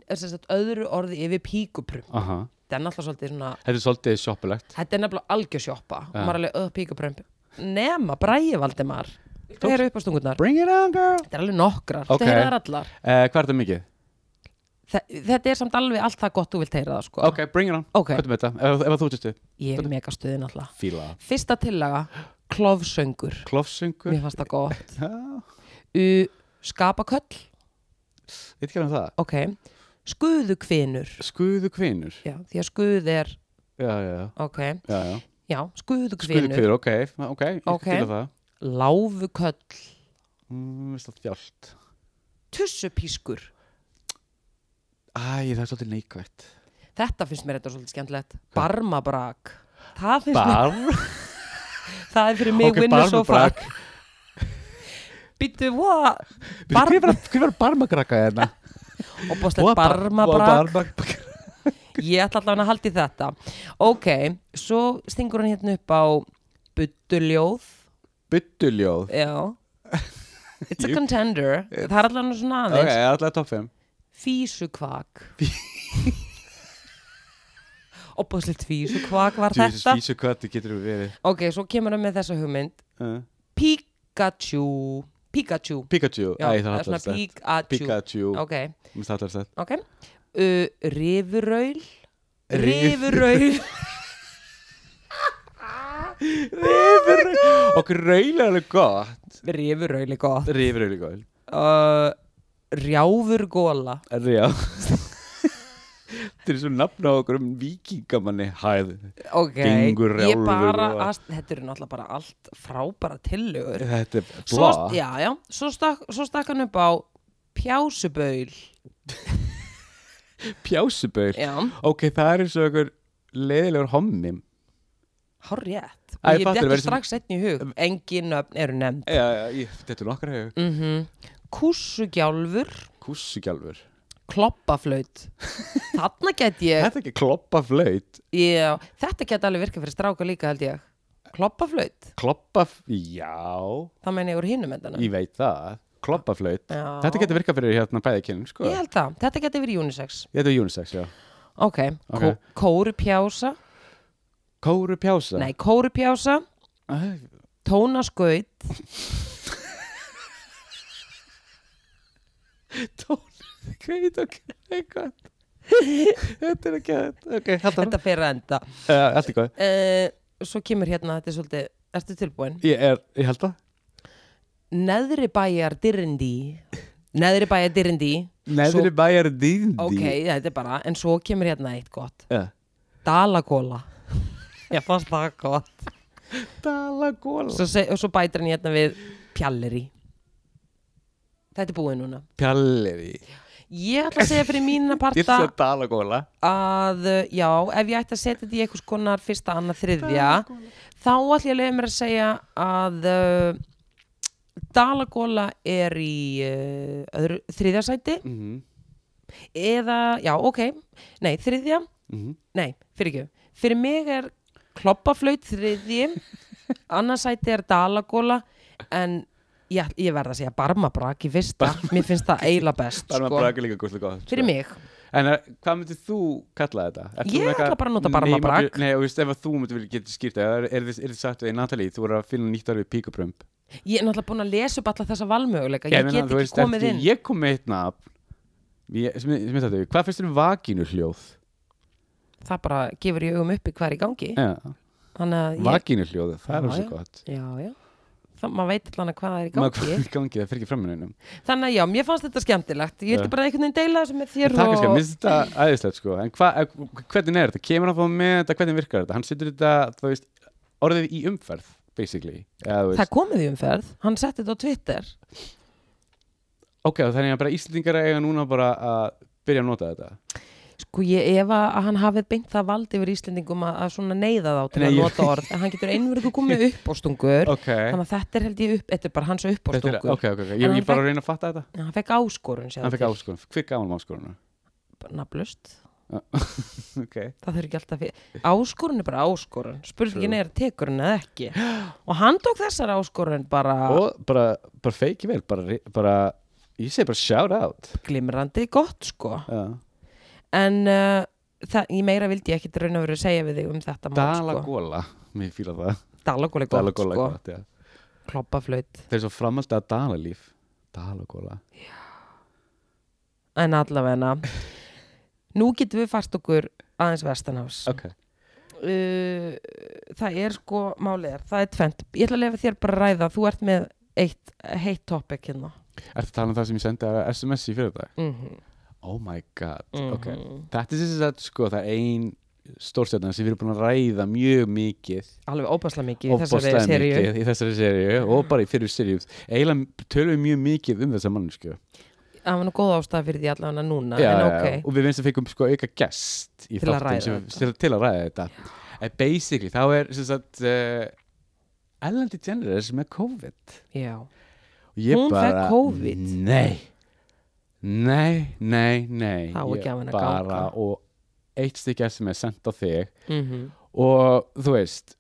S2: eh, sem sagt öðru orði yfir píkuprum.
S1: aha
S2: Þetta er náttúrulega svolítið svona,
S1: Þetta er svolítið sjoppulegt
S2: þetta er nefnilega algjörsjoppa og
S1: Ja.
S2: maður er alveg öð píkuprum. Nema, bræði Valdimar,
S1: Tókst-
S2: það eru upp á stungurnar.
S1: Bring it on girl
S2: Þetta er alveg nokkrar,
S1: Ok.
S2: þetta er allar.
S1: uh, Hvað er þetta mikið?
S2: Þe- Þetta er samt alveg allt það gott þú vilt heyra það sko.
S1: Ok, bring it on
S2: Ok.
S1: Hvað er með þetta? Ef, ef þú tjústu
S2: Ég er mega stuðin alltaf.
S1: Fíla
S2: Fyrsta tillaga, klofsöngur.
S1: Klofsöngur
S2: Mér fannst það gott.
S1: Veit
S2: U, skapaköll,
S1: ekki hvað um það
S2: ok. Skuðukvinur,
S1: Skuðu kvinur
S2: já, því að skuð er,
S1: Já, já,
S2: ok,
S1: já, já.
S2: já,
S1: Skuðu
S2: skuðukvinur.
S1: kvinur, ok Ok, ég
S2: Ok.
S1: fíla það
S2: Láfuköll,
S1: Mm, Veist það þjált
S2: tussupískur.
S1: Æ, það er svolítið neikvægt
S2: Þetta finnst mér þetta svolítið skemmtilegt. Barmabrak, það finnst
S1: Bar
S2: mér, það er fyrir mig
S1: Ok,
S2: okay, vinnur svo
S1: barmabrak.
S2: fag. Býttu, vó, Bar-
S1: Hver var- hver var barmakrakka hérna?
S2: og bóðslega barmabrak.
S1: Barmabrak
S2: Ég ætla allavega að haldi þetta. Ok, svo stingur hann hérna upp á buttuljóð,
S1: Byttuljóð
S2: já. It's a
S1: Jú.
S2: contender. Það er allavega svona
S1: Ok,
S2: aðeins.
S1: allavega topp 5
S2: Físukvak Oppaðslega físukvak var
S1: Jesus,
S2: þetta
S1: físu hvað þið getur verið
S2: Ok, svo kemur hann með þessa hugmynd
S1: uh,
S2: Pikachu Pikachu
S1: Pikachu,
S2: Já,
S1: æ, það
S2: það
S1: er
S2: er svona
S1: alltaf stætt Pikachu,
S2: Pikachu Ok,
S1: mér það er alltaf stætt
S2: ok uh, Rifurraul
S1: Rif-
S2: Rifurraul
S1: Og raul er alveg gott
S2: Rifurraul er gott
S1: Rifur er alveg gott
S2: uh, Rjáfurgóla
S1: Rjá Þetta er svo nafn á okkur um vikingamanni Hæð
S2: Ok,
S1: Gengur
S2: ég
S1: Rjálfur
S2: bara
S1: Gola.
S2: að, Þetta eru náttúrulega bara allt frábæra tillögur
S1: Þetta er
S2: svo,
S1: blá
S2: já, já, svo, stakk, svo stakk hann upp á pjásubaul
S1: Pjásubaul
S2: já,
S1: Ok, það er eins og okkur leiðilegur hommi
S2: hár rétt
S1: Æ,
S2: og ég
S1: fattar,
S2: dætti
S1: verður sem-
S2: strax einn í hug engin nöfn eru nefnd
S1: Já, já, ég, þetta er nokkra hefur
S2: mm kússugjálfur,
S1: Kússugjálfur
S2: kloppaflaut þarna get ég
S1: Þetta er ekki kloppa flöyt
S2: já, þetta get alveg virkað fyrir stráka líka held ég kloppaflaut,
S1: Kloppa, já
S2: það meina ég úr hinnum endanum
S1: Ég veit það, kloppaflaut
S2: Já.
S1: Þetta getur virkað fyrir hérna bæðikinn sko.
S2: ég held það, þetta get verið unisex
S1: Þetta er unisex, já
S2: ok,
S1: Ok.
S2: okay. kórupjása
S1: Kóru pjása
S2: nei, kórupjása,
S1: Æ,
S2: tónaskaut
S1: Tón, greit ok, eitthvað Þetta er ekki að Ok, Eh, hættu hann
S2: þetta fer að enda
S1: Þetta er góð
S2: uh, svo kemur hérna þetta er svolítið, ertu tilbúin
S1: Ég er, ég held það
S2: neðri bæjar dyrindi neðri bæjar dyrindi
S1: Neðri
S2: Svo-
S1: bæjar dýndi
S2: ok, þetta er bara, en svo kemur hérna eitt gott
S1: yeah.
S2: dalagóla ég fannst það gott
S1: Dalagóla
S2: svo, se- og svo bætir hann hérna við pjalliri þetta er búið núna
S1: Pjallir í
S2: ég ætla að segja fyrir mína
S1: Ég ætla
S2: parta
S1: að dala góla
S2: að uh, já, ef ég ætti að setja þetta í einhvers konar fyrsta, annað, þriðja þá ætla ég að leiða mér að segja að uh, Dalagóla er í uh, öðru, þriðja sæti
S1: mm -hmm.
S2: eða, já, ok, nei, þriðja
S1: Mhm.
S2: nei, fyrir ekki, fyrir mig er kloppaflaut þriðji annarsæti er dalagóla en ég, ég verð að segja barmabrak í fyrsta, mér finnst það eiginlega best
S1: Barma
S2: sko.
S1: brak er líka gúslega gott
S2: fyrir mig,
S1: En er, hvað myndir þú kalla þetta? Ertu
S2: Ég
S1: með eitthvað
S2: ætla bara að nota barma
S1: nema-
S2: brak.
S1: Nei, og veist, ef að þú myndir vilja geta skýrt það Er, er, þið- er þið sagt við, Natalie, þú voru að finna nýtt orðið píkuprömp
S2: ég er náttúrulega búin að lesa upp alla þessa valmöguleika, ég get ekki komið inn
S1: Ég kom með eitt nafn Ég- sem sem ég þetta, hvað finnst þér um vagínu hljóð?
S2: það bara gefur ég augum uppi hvað er í gangi
S1: Ja,
S2: þannig að ég,
S1: vagínu hljóð, það er
S2: Já,
S1: alveg
S2: já.
S1: gott
S2: já, já það, maður veit allan að hvað er í
S1: Maður
S2: gangi
S1: komið í gangi, það fyrir ekki framöðunum
S2: þannig að já, mér fannst þetta skemmtilegt ég
S1: Já.
S2: ætla bara einhvern veginn deila þessu með þér
S1: Takk
S2: og
S1: skil, minnst þetta æðislegt sko En hva, hvernig er þetta? Kemur hann þá með þetta? Hvernig virkar þetta? Hann setur þetta, þú veist, orðið í umferð basically Eða, þú veist,
S2: það komið í umferð, hann setti þetta á Twitter
S1: Ok, þannig að bara Íslendingar eiga núna bara að byrja að nota þetta
S2: Sko ég efa að hann hafið beint það vald yfir Íslendingum að, að svona neyða þá til
S1: Nei,
S2: að
S1: ég-
S2: nota orð en hann getur einverju komið uppbóstungur
S1: Ok,
S2: þannig að þetta er held ég upp, þetta er bara hans
S1: þetta er,
S2: uppbóstungur
S1: ok, ok, ok,
S2: En
S1: ég,
S2: hann
S1: ég bara reyna að fatta þetta
S2: hann fekk áskorun
S1: Hann
S2: sér
S1: fekk áskorun, hver gaf hann áskorun?
S2: naflust,
S1: Ok,
S2: það þurfi ekki alltaf fyrir áskorun er bara áskorun, spurningin
S1: True.
S2: er tekur hann eða ekki og hann tók þessar áskorun bara
S1: og bara, bara feiki vel, bara, re- bara ég segi bara shout out
S2: glimrandi gott sko
S1: uh,
S2: en uh, það, ég meira vildi ég ekki raun og veru segja við þig um þetta mál sko
S1: Dalagóla, mér fíla það
S2: Dalagóla er gott
S1: Dalagóla,
S2: sko,
S1: gott, já
S2: kloppaflaut
S1: Þeir eru svo framhaldið að dalalíf Dalagóla
S2: en allavegna nú getum við fast okkur aðeins vestanhás
S1: Ok,
S2: uh, það er sko málið er, það er tvent ég ætla að lefa þér bara að ræða, þú ert með eitt heitt topic hérna
S1: ertu að tala um það sem ég sendi að SMS í fyrir dag?
S2: mm -hmm.
S1: Oh my god,
S2: Mhm.
S1: ok Þetta er sem sagt, sko, það er ein stórstjörna sem við erum búin að ræða mjög mikið
S2: alveg óbáslega mikið í þessari
S1: ofboðslega
S2: seríu
S1: mikið í þessari seríu og bara í fyrir seríu eiginlega tölum við mjög mikið um þessa mannsku
S2: það var nú góð ástæða fyrir því allavega núna
S1: Já,
S2: Ah, en
S1: já,
S2: ok,
S1: og við finnst að fengum sko auka gest í
S2: Til að
S1: þáttum
S2: ræða
S1: sem-
S2: þetta.
S1: til, til að ræða þetta en basically þá er sem sagt uh, Ellen DeGeneres með COVID
S2: já,
S1: og ég
S2: Hún
S1: bara,
S2: fekk COVID?
S1: nei, nei, nei, nei
S2: Þá er
S1: Ég
S2: gjafinn að
S1: bara
S2: ganga.
S1: og eitt stykki SMS sendt á þig
S2: mm
S1: og þú veist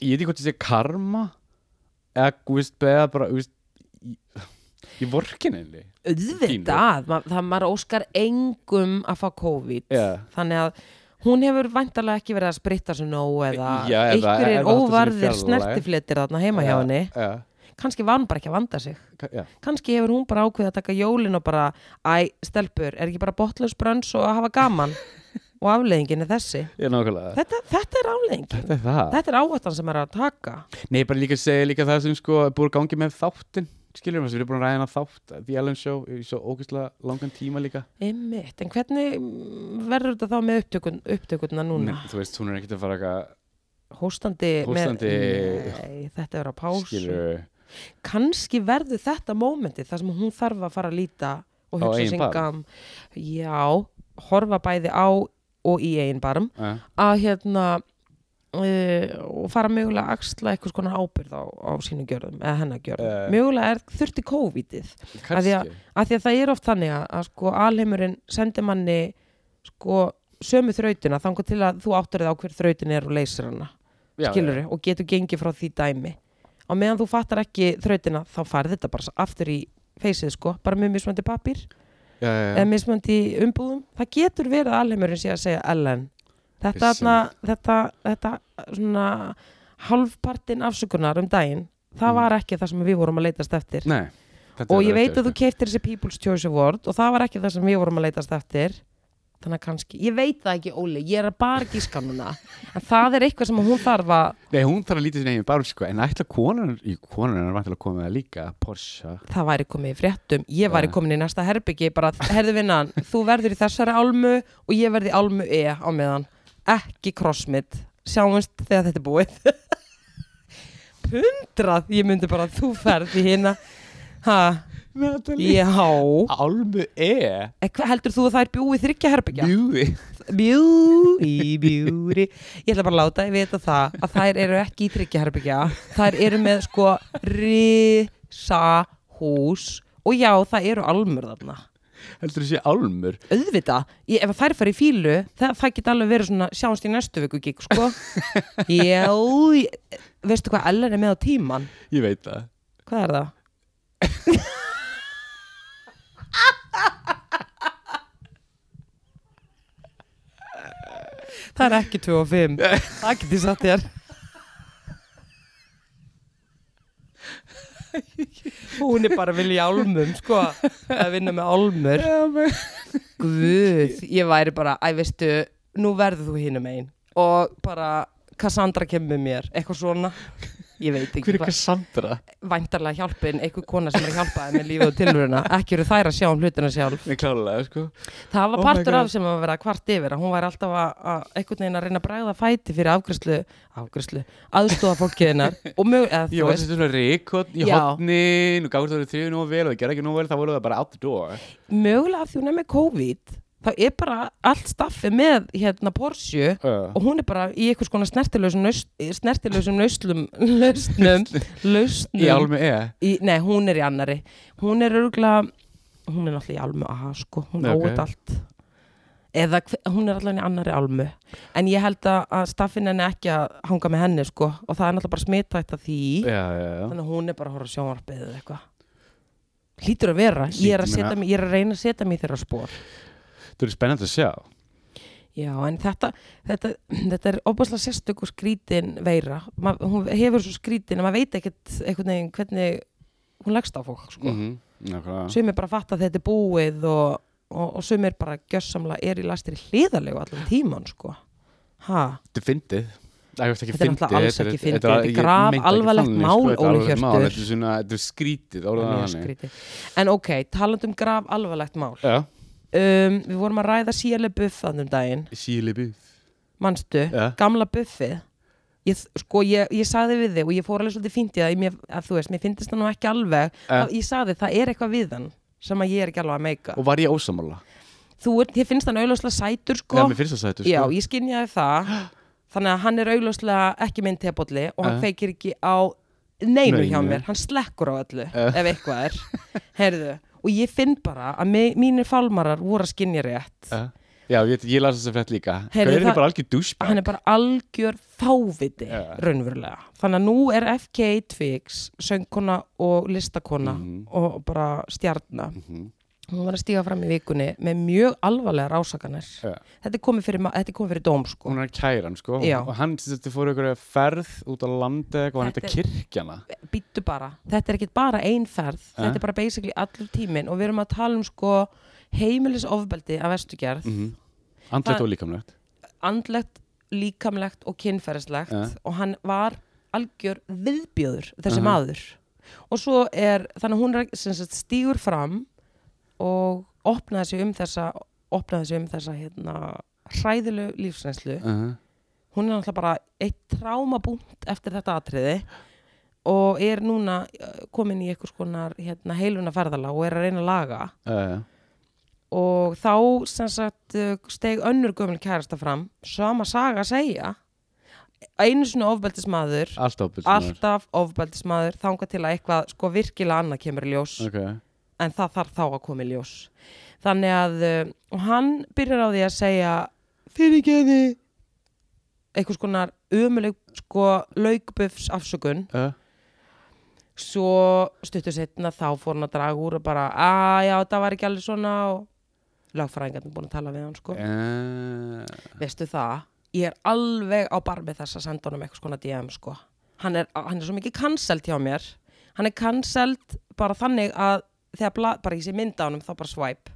S1: ég veit ekki hvort ég sé karma eða, þú veist, beða bara þú veist, ég, ég vorkin henni
S2: auðvitað ma það maður óskar engum að fá COVID
S1: Já.
S2: þannig að hún hefur vantarlega ekki verið að spritta svo nóg eða
S1: Já, eða- eða
S2: einhverjir
S1: haft þessu í
S2: óvarðir
S1: fjarlægð.
S2: snertifletir þarna heima hjá henni
S1: já,
S2: kannski var hún bara ekki að vanda sig
S1: ka- já,
S2: kannski hefur hún bara ákveðið að taka jólin og bara æ, stelpur, er ekki bara botlaus brönns og að hafa gaman og afleðingin er þessi
S1: ég nákvæmlega
S2: þetta, þetta er afleðingin,
S1: þetta er það
S2: þetta er áhættan sem er að taka
S1: nei, bara líka að segja líka það sem sko er búið að gangi með þáttinn skilur við, við erum búin að ræða hennar þátt The Ellen Show í svo ógæslega langan tíma líka
S2: Einmitt. en hvernig mm, verður þetta þá með upptökun, upptökunna núna
S1: þú veist, hún er ekkert að fara eitthvað
S2: hóstandi,
S1: Hóstandi-
S2: Með, nei, þetta er á pásu
S1: skilur við
S2: kannski verður þetta mómenti þar sem hún þarf að fara að líta
S1: Á
S2: og hugsa
S1: eigin
S2: sig
S1: barm?
S2: gam já, horfa bæði á og í eigin barm að hérna uh, og fara mögulega að axla eitthvað skona ábyrð á, á sínum gjörðum eða hennar gjörðum,
S1: Eh.
S2: mögulega er þurfti COVID-ið, því að-
S1: kannski
S2: af því að það er oft þannig að, að sko alheimurinn sendir manni sko sömu þrautina þangar til að þú áttur þið á hver þrautin er og leysir hana
S1: Já,
S2: skilur og getur gengið frá því dæmi á meðan þú fattar ekki þrautina þá farið þetta bara aftur í feysið sko, bara með mismöndi pappir
S1: já, já, já.
S2: eða mismöndi umbúðum það getur verið að alheimurinn sé að segja Ellen þetta,
S1: Vissi.
S2: þarna, þetta, þetta svona halvpartin afsökunar um daginn það
S1: Mm.
S2: var ekki það sem við vorum að leitast eftir
S1: Nei, þetta
S2: og
S1: er
S2: ég
S1: bara
S2: veit
S1: ekki,
S2: að þú keiftir þessi People's Choice Award og það var ekki það sem við vorum að leitast eftir þannig að kannski, ég veit það ekki Óli ég er að bara gíska núna en það er eitthvað sem hún þarf að
S1: Nei, hún þarf að lítið sinni eigin barm sko, en ætla konan, í konan er vantilega að koma með það líka, Porsche.
S2: það væri komið í fréttum, ég væri
S1: Já.
S2: komin í næsta herbyggi bara, herðu vinnan, þú verður í þessari álmu og ég verði í álmu E á meðan, ekki crossmit sjáumst þegar þetta er búið pundrað, ég myndi bara þú ferð í hina ha,
S1: Natalie
S2: Já,
S1: Álmu E
S2: Eh, hvað heldur þú að það er bjúi þryggja herbyggja?
S1: Bjúi
S2: Bjú í bjúri Ég ætla bara að láta, ég vita það að þær eru ekki í þryggja herbyggja þær eru með sko risa hús og já, það eru almur þarna
S1: Heldur þú sé álmur?
S2: auðvitað, ég, ef að þær fara í fílu það, það geta alveg verið svona, sjáumst í næstu viku gík, sko já, ég- veistu hvað Ellen er með á tíman
S1: Ég veit það
S2: hvað er það? það er ekki 2 og 5 það geti satt þér hún er bara að vilja í álmum sko, að vinna með álmur Guð, ég væri bara, æ veistu, nú verður þú hinum einn og bara Cassandra kemur með mér, eitthvað svona ég veit ekki,
S1: Hver er Cassandra?
S2: væntarlega hjálpin einhver kona sem er að hjálpa þeim með lífið og tilvöruna ekki eru þær að sjá um hlutina sjálf
S1: Nei, klálega, sko
S2: það
S1: Oh
S2: var
S1: my
S2: partur
S1: God.
S2: af sem að vera kvart yfir að hún var alltaf að, að einhvern veginn að reyna að bræða fæti fyrir afgræslu, afgræslu aðstofa fólkið hennar og mjög, eða
S1: Ég
S2: þú
S1: var
S2: veist,
S1: þessi svona reikot í
S2: Já.
S1: hotnin og gáður það þrjú nú vel og það gerði ekki nú vel þá voru það bara out the door
S2: mögulega af því hún er með COVID þá er bara allt staffið með hérna Porsche
S1: uh.
S2: og hún er bara í einhvers konar snertilösum lausn- snertilösum lauslum lausnum, lausnum
S1: Í álmu E
S2: í, nei, hún er í annari hún er örgulega hún er náttúrulega í almu aha, sko, hún
S1: Nei,
S2: okay.
S1: ok.
S2: áut allt eða hve- hún er allavega í annari almu en ég held að, að staffinn henni ekki að hanga með henni sko og það er náttúrulega bara smittætt af því
S1: Já, já, já
S2: þannig að hún er bara að horfa á sjónvarpið eða eitthvað hlýtur að vera, ég er að,
S1: Hlýtur,
S2: setja
S1: meina-
S2: mig, ég er að reyna að setja mig í þeirra spór
S1: Það er spennandi að sjá
S2: Já, en þetta, þetta, þetta er óbúslega sérstök og skrítin veira. Ma, hún hefur svo skrítin að maður veit ekkert einhvern veginn hvernig hún leggst á fólk,
S1: Mhm.
S2: sko. Mm.
S1: Nákvæmlega
S2: Sumir bara fatta að þetta er búið og, og, og sumir bara gjössamlega er í lastir hliðalegu allan tíman, sko. Ha,
S1: Þetta er fyndið Æ, Þetta er ekki
S2: Þetta er
S1: fyndið,
S2: náttúrulega alls
S1: þetta er-
S2: ekki
S1: þetta er-
S2: fyndið, þetta er
S1: ég
S2: graf
S1: meinti ekki
S2: alvarlegt
S1: þannig,
S2: mál,
S1: sko, þetta er
S2: Óli
S1: alvarlegt mál,
S2: Hjörtur.
S1: Þetta er svona, þetta er skrítið,
S2: það
S1: orðað
S2: er mjög
S1: þannig
S2: skrítið. En ok, talandum graf alvarlegt mál.
S1: Já,
S2: Um, við vorum að ræða síðarlega buffaðnum daginn,
S1: síli búð
S2: manstu?
S1: Já,
S2: gamla buffið ég, sko, ég, ég saði við þig og ég fór alveg svolítið fyndið að, ég- mér, að þú veist, mér fyndist það nú ekki alveg
S1: Eh.
S2: uh. ég saði það er eitthvað við hann sem að ég er ekki alveg að meika
S1: og var ég ósamála?
S2: Sko- þú er, ég finnst hann auðvitað sætur
S1: Já,
S2: sko
S1: mér finnst það sættu, sko
S2: já, ég skinjaði það þannig að hann er auðvitað ekki minn tebolli og hann
S1: Eh.
S2: feikir ekki á neinu hjá
S1: Neinu.
S2: mér, hann slekkur á öllu
S1: Eh.
S2: ef eitthvað er, heyrðu og ég finn bara að mi- mínir fálmarar voru að skinja rétt
S1: Já, já ég, ég las þess að frétt líka
S2: Heyrðu,
S1: Gaurin
S2: það-
S1: er bara algjör dúsbæk
S2: hann er bara algjör fáviti
S1: Já.
S2: raunverulega þannig að nú er FK Twigs söngkona og listakona
S1: Mhm.
S2: og bara stjarnar
S1: Mhm.
S2: hún var að stíga fram í vikunni með mjög alvarlegar ásakanir
S1: Já.
S2: þetta er komið fyrir, ma- þetta er komið fyrir dóm sko.
S1: Hún er kæran, sko
S2: Já.
S1: Og hann þetta fór ykkur ferð út á landi eitthvað og hann
S2: Þetta
S1: hætti kirkjana
S2: býttu bara, þetta er ekkit bara ein ferð
S1: Eh?
S2: þetta er bara basically allur tíminn og við erum að tala um sko heimilisofbeldi af vestugerð
S1: Andlegt
S2: Það-
S1: og líkamlegt
S2: andlegt, líkamlegt og kynferðislegt
S1: Ja.
S2: og hann var algjör viðbjöður þessi
S1: Aha.
S2: maður og svo er, þannig að hún er, sem sagt, stígur fram og opnaði sig um þessa opnaði sig um þessa hérna, hræðilu lífsreynslu
S1: uh -huh.
S2: hún er náttúrulega bara eitt trámabúnt eftir þetta atriði og er núna eh, komin í einhvers konar hérna, heiluna ferðala og er að reyna að laga
S1: uh,
S2: og þá sem sagt eh, steig önnur gömul kærasta fram sama saga að segja einu svona ofbeldismadur
S1: Allt ábyrð
S2: alltaf ofbeldismadur þanga til að eitthvað sko virkilega annað kemur í ljós
S1: Ok
S2: en það þarf þá að koma í ljós þannig að eh, og hann byrjar á því að segja fyrirgeði einhvers konar ömuleg sko laukbufs afsökun
S1: uh,
S2: svo stuttu setna þá fór hann að draga úr og bara, að já, það var ekki alveg svona og lagfræðingarnir búin að tala við hann sko,
S1: uh,
S2: veistu það ég er alveg á barmi þess að senda honum eitthvað skona DM sko hann er, hann er svo mikið cancelled hjá mér hann er cancelled bara þannig að þegar blað, bara ég sé mynda honum þá bara swipe,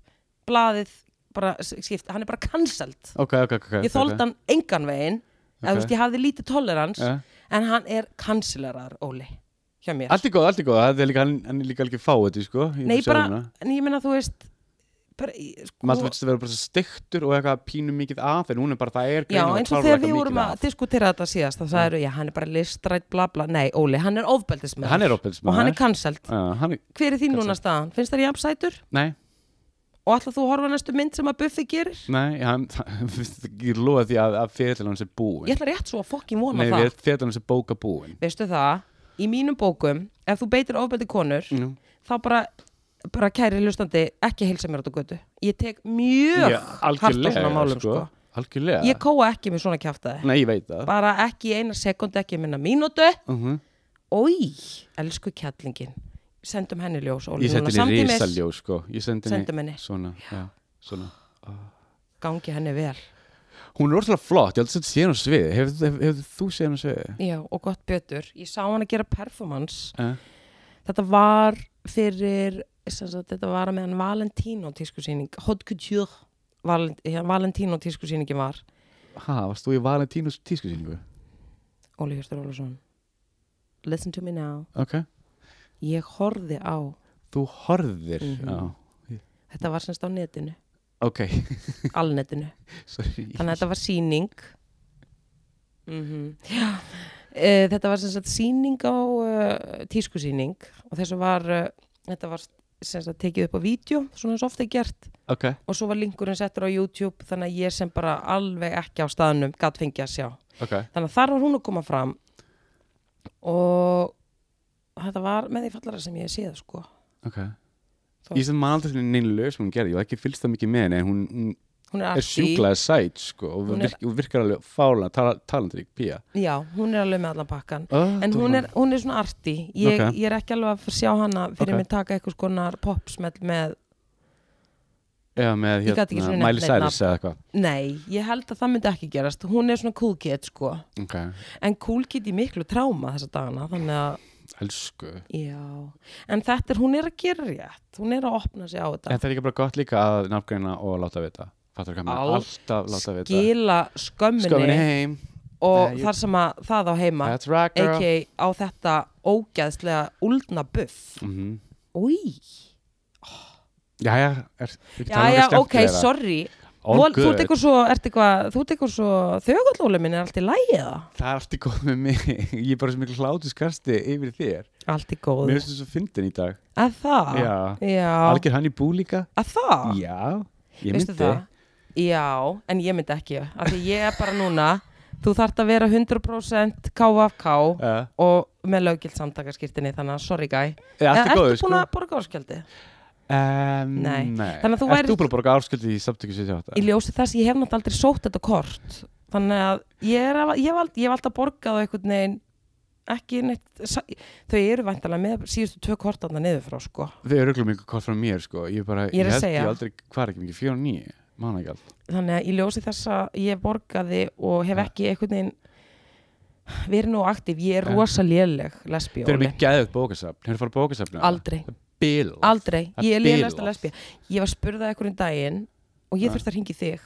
S2: blaðið bara s- skipt, hann er bara cancelled
S1: Ok, ok, ok
S2: ég þóld hann engan veginn eða, þú veist, ég hafði lítið tolerans
S1: Eh.
S2: en hann er cancelleraðar, Óli hjá mér
S1: Allt í góð, allt í góð Það er líka, hann, hann er líka alveg fáið, sko í
S2: Nei, bara-
S1: sálina.
S2: en ég meina þú veist bara, í- sko,
S1: maður veist að vera bara svo styktur og eitthvað pínu mikið að en hún er bara, það er
S2: já,
S1: greinilega
S2: eins og
S1: klárlega
S2: þegar
S1: eitthvað
S2: við vorum
S1: mikið
S2: að diskutera þetta síðast það sagður, já, hann er bara listrætt, bla bla nei, Óli, hann er ofbeldismæður
S1: Hann er ofbeldismaður.
S2: og hann er cancelled,
S1: Já, hann er,
S2: hver er þín núna staðan? finnst það jafnsætur?
S1: nei,
S2: og ætla þú að horfa á næstu mynd sem að Buffy gerir?
S1: nei hann, ég lofa því að, að fyrirlega hans er búin
S2: ég ætla rétt svo að fokkin vona
S1: nei,
S2: það
S1: fyrirlega hans er bóka búin
S2: veistu það, í mínum bókum ef þú beitir ofbeldi konur
S1: Nú.
S2: þá bara, bara kæri hlustandi ekki heilsa mér át á götu ég tek mjög hart á svona málum sko.
S1: algjörlega
S2: ég kóa ekki með svona kjaftaði
S1: nei, ég veit það
S2: bara ekki í eina sekund, ekki í minna mínútu
S1: uh -huh.
S2: Ói, elsku kjallingin sendum henni ljós Óli,
S1: ég sendi
S2: núna
S1: henni
S2: samtímis.
S1: risaljó sko. ég sendi henni,
S2: Sendum henni.
S1: svona, já, svona
S2: gangi henni vel
S1: hún er orðslega flott, ég held að þetta sé henni á sviði hefur hef, hef, þú séð henni á sviði?
S2: Já, og gott betur, ég sá hann að gera performance
S1: Uh,
S2: þetta var fyrir sem sagt, þetta var meðan Valentino tískusýning Haute Couture Valent, hérna, Valentino tískusýningin var
S1: ha, varst þú í Valentínus tískusýningu?
S2: Óli Hjörstur Ólafsson Listen to me now
S1: ok,
S2: ég horfði á,
S1: þú horðir
S2: Mhm.
S1: já,
S2: þetta var semst á netinu
S1: ok,
S2: alnetinu,
S1: sorry
S2: þannig að þetta var sýning mm Já, e, þetta var semst sýning á uh, tískusýning og þessu var uh, þetta var semst að tekið upp á vídeo svona eins og ofta er gert
S1: ok,
S2: og svo var linkurinn settur á YouTube þannig að ég sem bara alveg ekki á staðnum gatt fengið að sjá.
S1: ok
S2: Þannig að þar var hún að koma fram og þetta var með því fallara sem ég hef séð sko.
S1: Ok
S2: Þó-
S1: Ég sem maður aldrei svona neina lög sem hún gerði, ég var ekki fylgst það mikið með henni en hún, hún
S2: Hún er,
S1: er sjúklaði sæt sko og
S2: Hún er-
S1: virk, og virkar alveg fála tala, talandi ekki pía
S2: Já, hún er alveg með allan pakkan.
S1: oh,
S2: En hún er, hún er svona arti. Ég,
S1: Ok.
S2: ég er ekki alveg að sjá hana fyrir
S1: Ok.
S2: mig taka eitthvað skonar popsmell með
S1: Já, með
S2: Ég gat ekki
S1: hérna,
S2: svona
S1: Miley
S2: nefnt neinn
S1: Cyrus eða eitthvað
S2: Nei, ég held að það myndi ekki gerast. Hún er svona cool kid sko.
S1: Ok,
S2: En cool kid í miklu tráma þessa dagana. Þannig að,
S1: elsku En
S2: já. En þetta er, hún er að gera rétt. Hún er að opna sig á þetta.
S1: það er ekki bara gott líka að nafngreina og láta vita Fattur hvað mér,
S2: Al-
S1: alltaf láta vita
S2: skila skömminni,
S1: Skömminni heim,
S2: og
S1: Nei, ég-
S2: þar sem að það á heima
S1: that's right girl
S2: a.k.a. á þetta ógæðslega úldna buff
S1: mm -hmm.
S2: Új,
S1: Jæja, er, við
S2: já
S1: tala um
S2: já,
S1: eitthvað
S2: ok,
S1: skemmtilegra.
S2: sorry
S1: All
S2: Vol- Þú
S1: good.
S2: tekur svo, ert eitthvað þú tekur svo þögullóli minn er allt í lægi eða?
S1: Það er allt í góð með mig Ég er bara sem mikil hlátuskasti yfir þér
S2: Allt í góð
S1: Mér finnst þess að fyndin í dag
S2: Að það?
S1: Já.
S2: Ah. já.
S1: Algjör hann í bú líka
S2: Að það?
S1: Já, ég
S2: Veistu
S1: myndi
S2: það? Já, en ég myndi ekki af því ég er bara núna þú þart að vera 100% KFK
S1: Uh,
S2: og með löggilt samtakaskirtinni þannig að sorry guy
S1: er allt í
S2: Eða
S1: góðu
S2: Eh, Ertu
S1: sko
S2: búin að borga áskjaldi?
S1: um,
S2: Nei.
S1: nei.
S2: Þannig að þú
S1: Ert
S2: værir-
S1: þú bara að borga afsköldi í samtökju
S2: í
S1: 78?
S2: ljósi þess ég hef náttúrulega aldrei sótt þetta kort þannig að ég, er, að- ég, hef, aldrei, ég hef alltaf borgað á einhvern veginn ekki neitt sa- þau eru væntalega með síðustu tvö kort þarna niður frá sko
S1: Þau eru örugglega mikið kort frá mér sko Ég, bara,
S2: Ég er að
S1: held
S2: segja.
S1: Ég aldrei, hvað er ekki mikið, 4 og 9 Mána ekki allt
S2: þannig að í ljósi þess að ég borgaði og hef ekki einhvern veginn verið nú aktíf, ég er
S1: Ja.
S2: rosa léleg lesbí
S1: Þau eru
S2: Óli,
S1: mikið geðið bókasafn Hefur farið bókasafn
S2: aldrei
S1: Bil
S2: aldrei,
S1: Það
S2: ég er
S1: bilað.
S2: lélegasta lesbí ég var spurðað einhverjum daginn og ég
S1: Ja.
S2: þurfti að ringi þig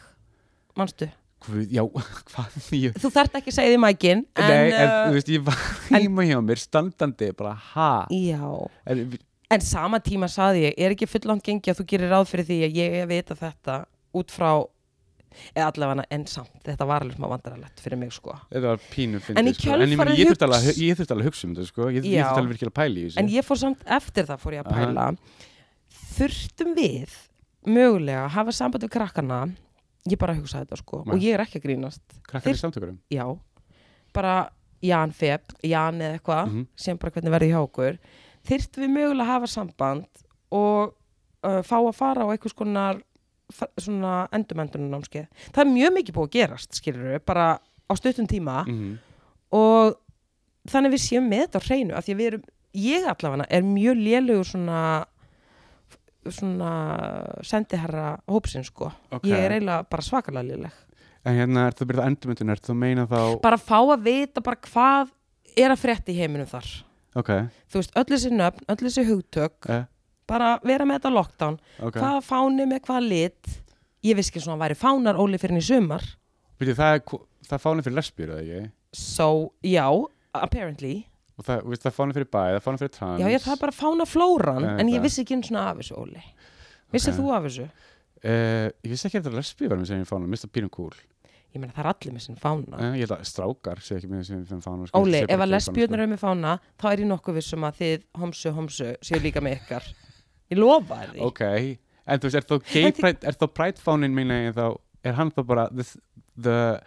S2: manstu,
S1: Guð, Já, hvað ég,
S2: þú þarft ekki að segja því mækin en,
S1: Nei, en þú
S2: uh,
S1: veist, ég var heima hjá mér standandi bara ha
S2: já
S1: er,
S2: En sama tíma saði ég, er ekki fullangt gengi að þú gerir ráð fyrir því að ég vita þetta út frá, eða allavega en samt, þetta var alveg smá vandrarlegt fyrir mig sko.
S1: Þetta var pínu fyndið
S2: En í
S1: sko. en ég, meina,
S2: kjölfarið
S1: ég þurfti alveg
S2: hugs-
S1: að- ég þurfti alveg að hugsa um þetta sko. Ég, ég
S2: Já.
S1: þurfti alveg virkilega að pæla í þessu
S2: En ég fór samt eftir það fór ég að pæla, þurftum við mögulega að hafa samband við krakkana, ég bara hugsaði þetta sko,
S1: Nei.
S2: og ég er ekki að grínast,
S1: Krakkar í samtökurum
S2: já, bara Jan Feb, Jan eða eitthvað,
S1: Mhm.
S2: sem bara hvernig verði hjá okkur, þyrftum við mögulega að hafa samband og uh, fá að fara á einhvers konar fa- svona endumendunum námskeið. Það er mjög mikið búið að gerast, skilur við, bara á stuttum tíma
S1: mm
S2: og þannig við séum með þetta á hreinu, af því að við erum, ég allavega er mjög lélugur svona svona sendiherra hópsinn sko.
S1: Ok.
S2: Ég er eiginlega bara svakalega léleg.
S1: En hérna, ert þú að byrja endurmyndun, ert þú að meina þá
S2: Bara fá að vita bara hvað er að frétta í heiminum þar.
S1: Ok,
S2: Þú veist, öll þessi nöfn, öll þessi hugtök,
S1: eh,
S2: bara vera með þetta lockdown.
S1: ok
S2: hvaða fáni með hvaða lit ég vissi ekki svona að væri fánar Óli fyrir henni sumar
S1: Býtu, það, er ko- það er fána fyrir lesbíur, eða ekki?
S2: so, já, apparently
S1: Og það, veist, það er fána fyrir bæ, það er fána fyrir trans
S2: já, ég það er bara fána flóran
S1: Nei,
S2: en
S1: það-
S2: ég vissi ekki eins og af þessu Óli vissið
S1: Ok.
S2: þú af þessu?
S1: Uh, ég vissi ekki að þetta er lesbíverðum sem ég fána, mista pínum kúl.
S2: ég meina það er allir með sinn fána
S1: Uh, ég held að strákar sé ekki með sem fána. Sko,
S2: Ah. Óli,
S1: sé bara
S2: ef að
S1: gay fána,
S2: lesbjörnur eru með fána þá er ég nokkuð vissum að þið homsu homsu séu líka með ykkar ég lofa því
S1: Ok, en þú veist, er þá gay
S2: En þi-
S1: pride, er þá pride fánin mín eginn þá, er hann þá bara this, the,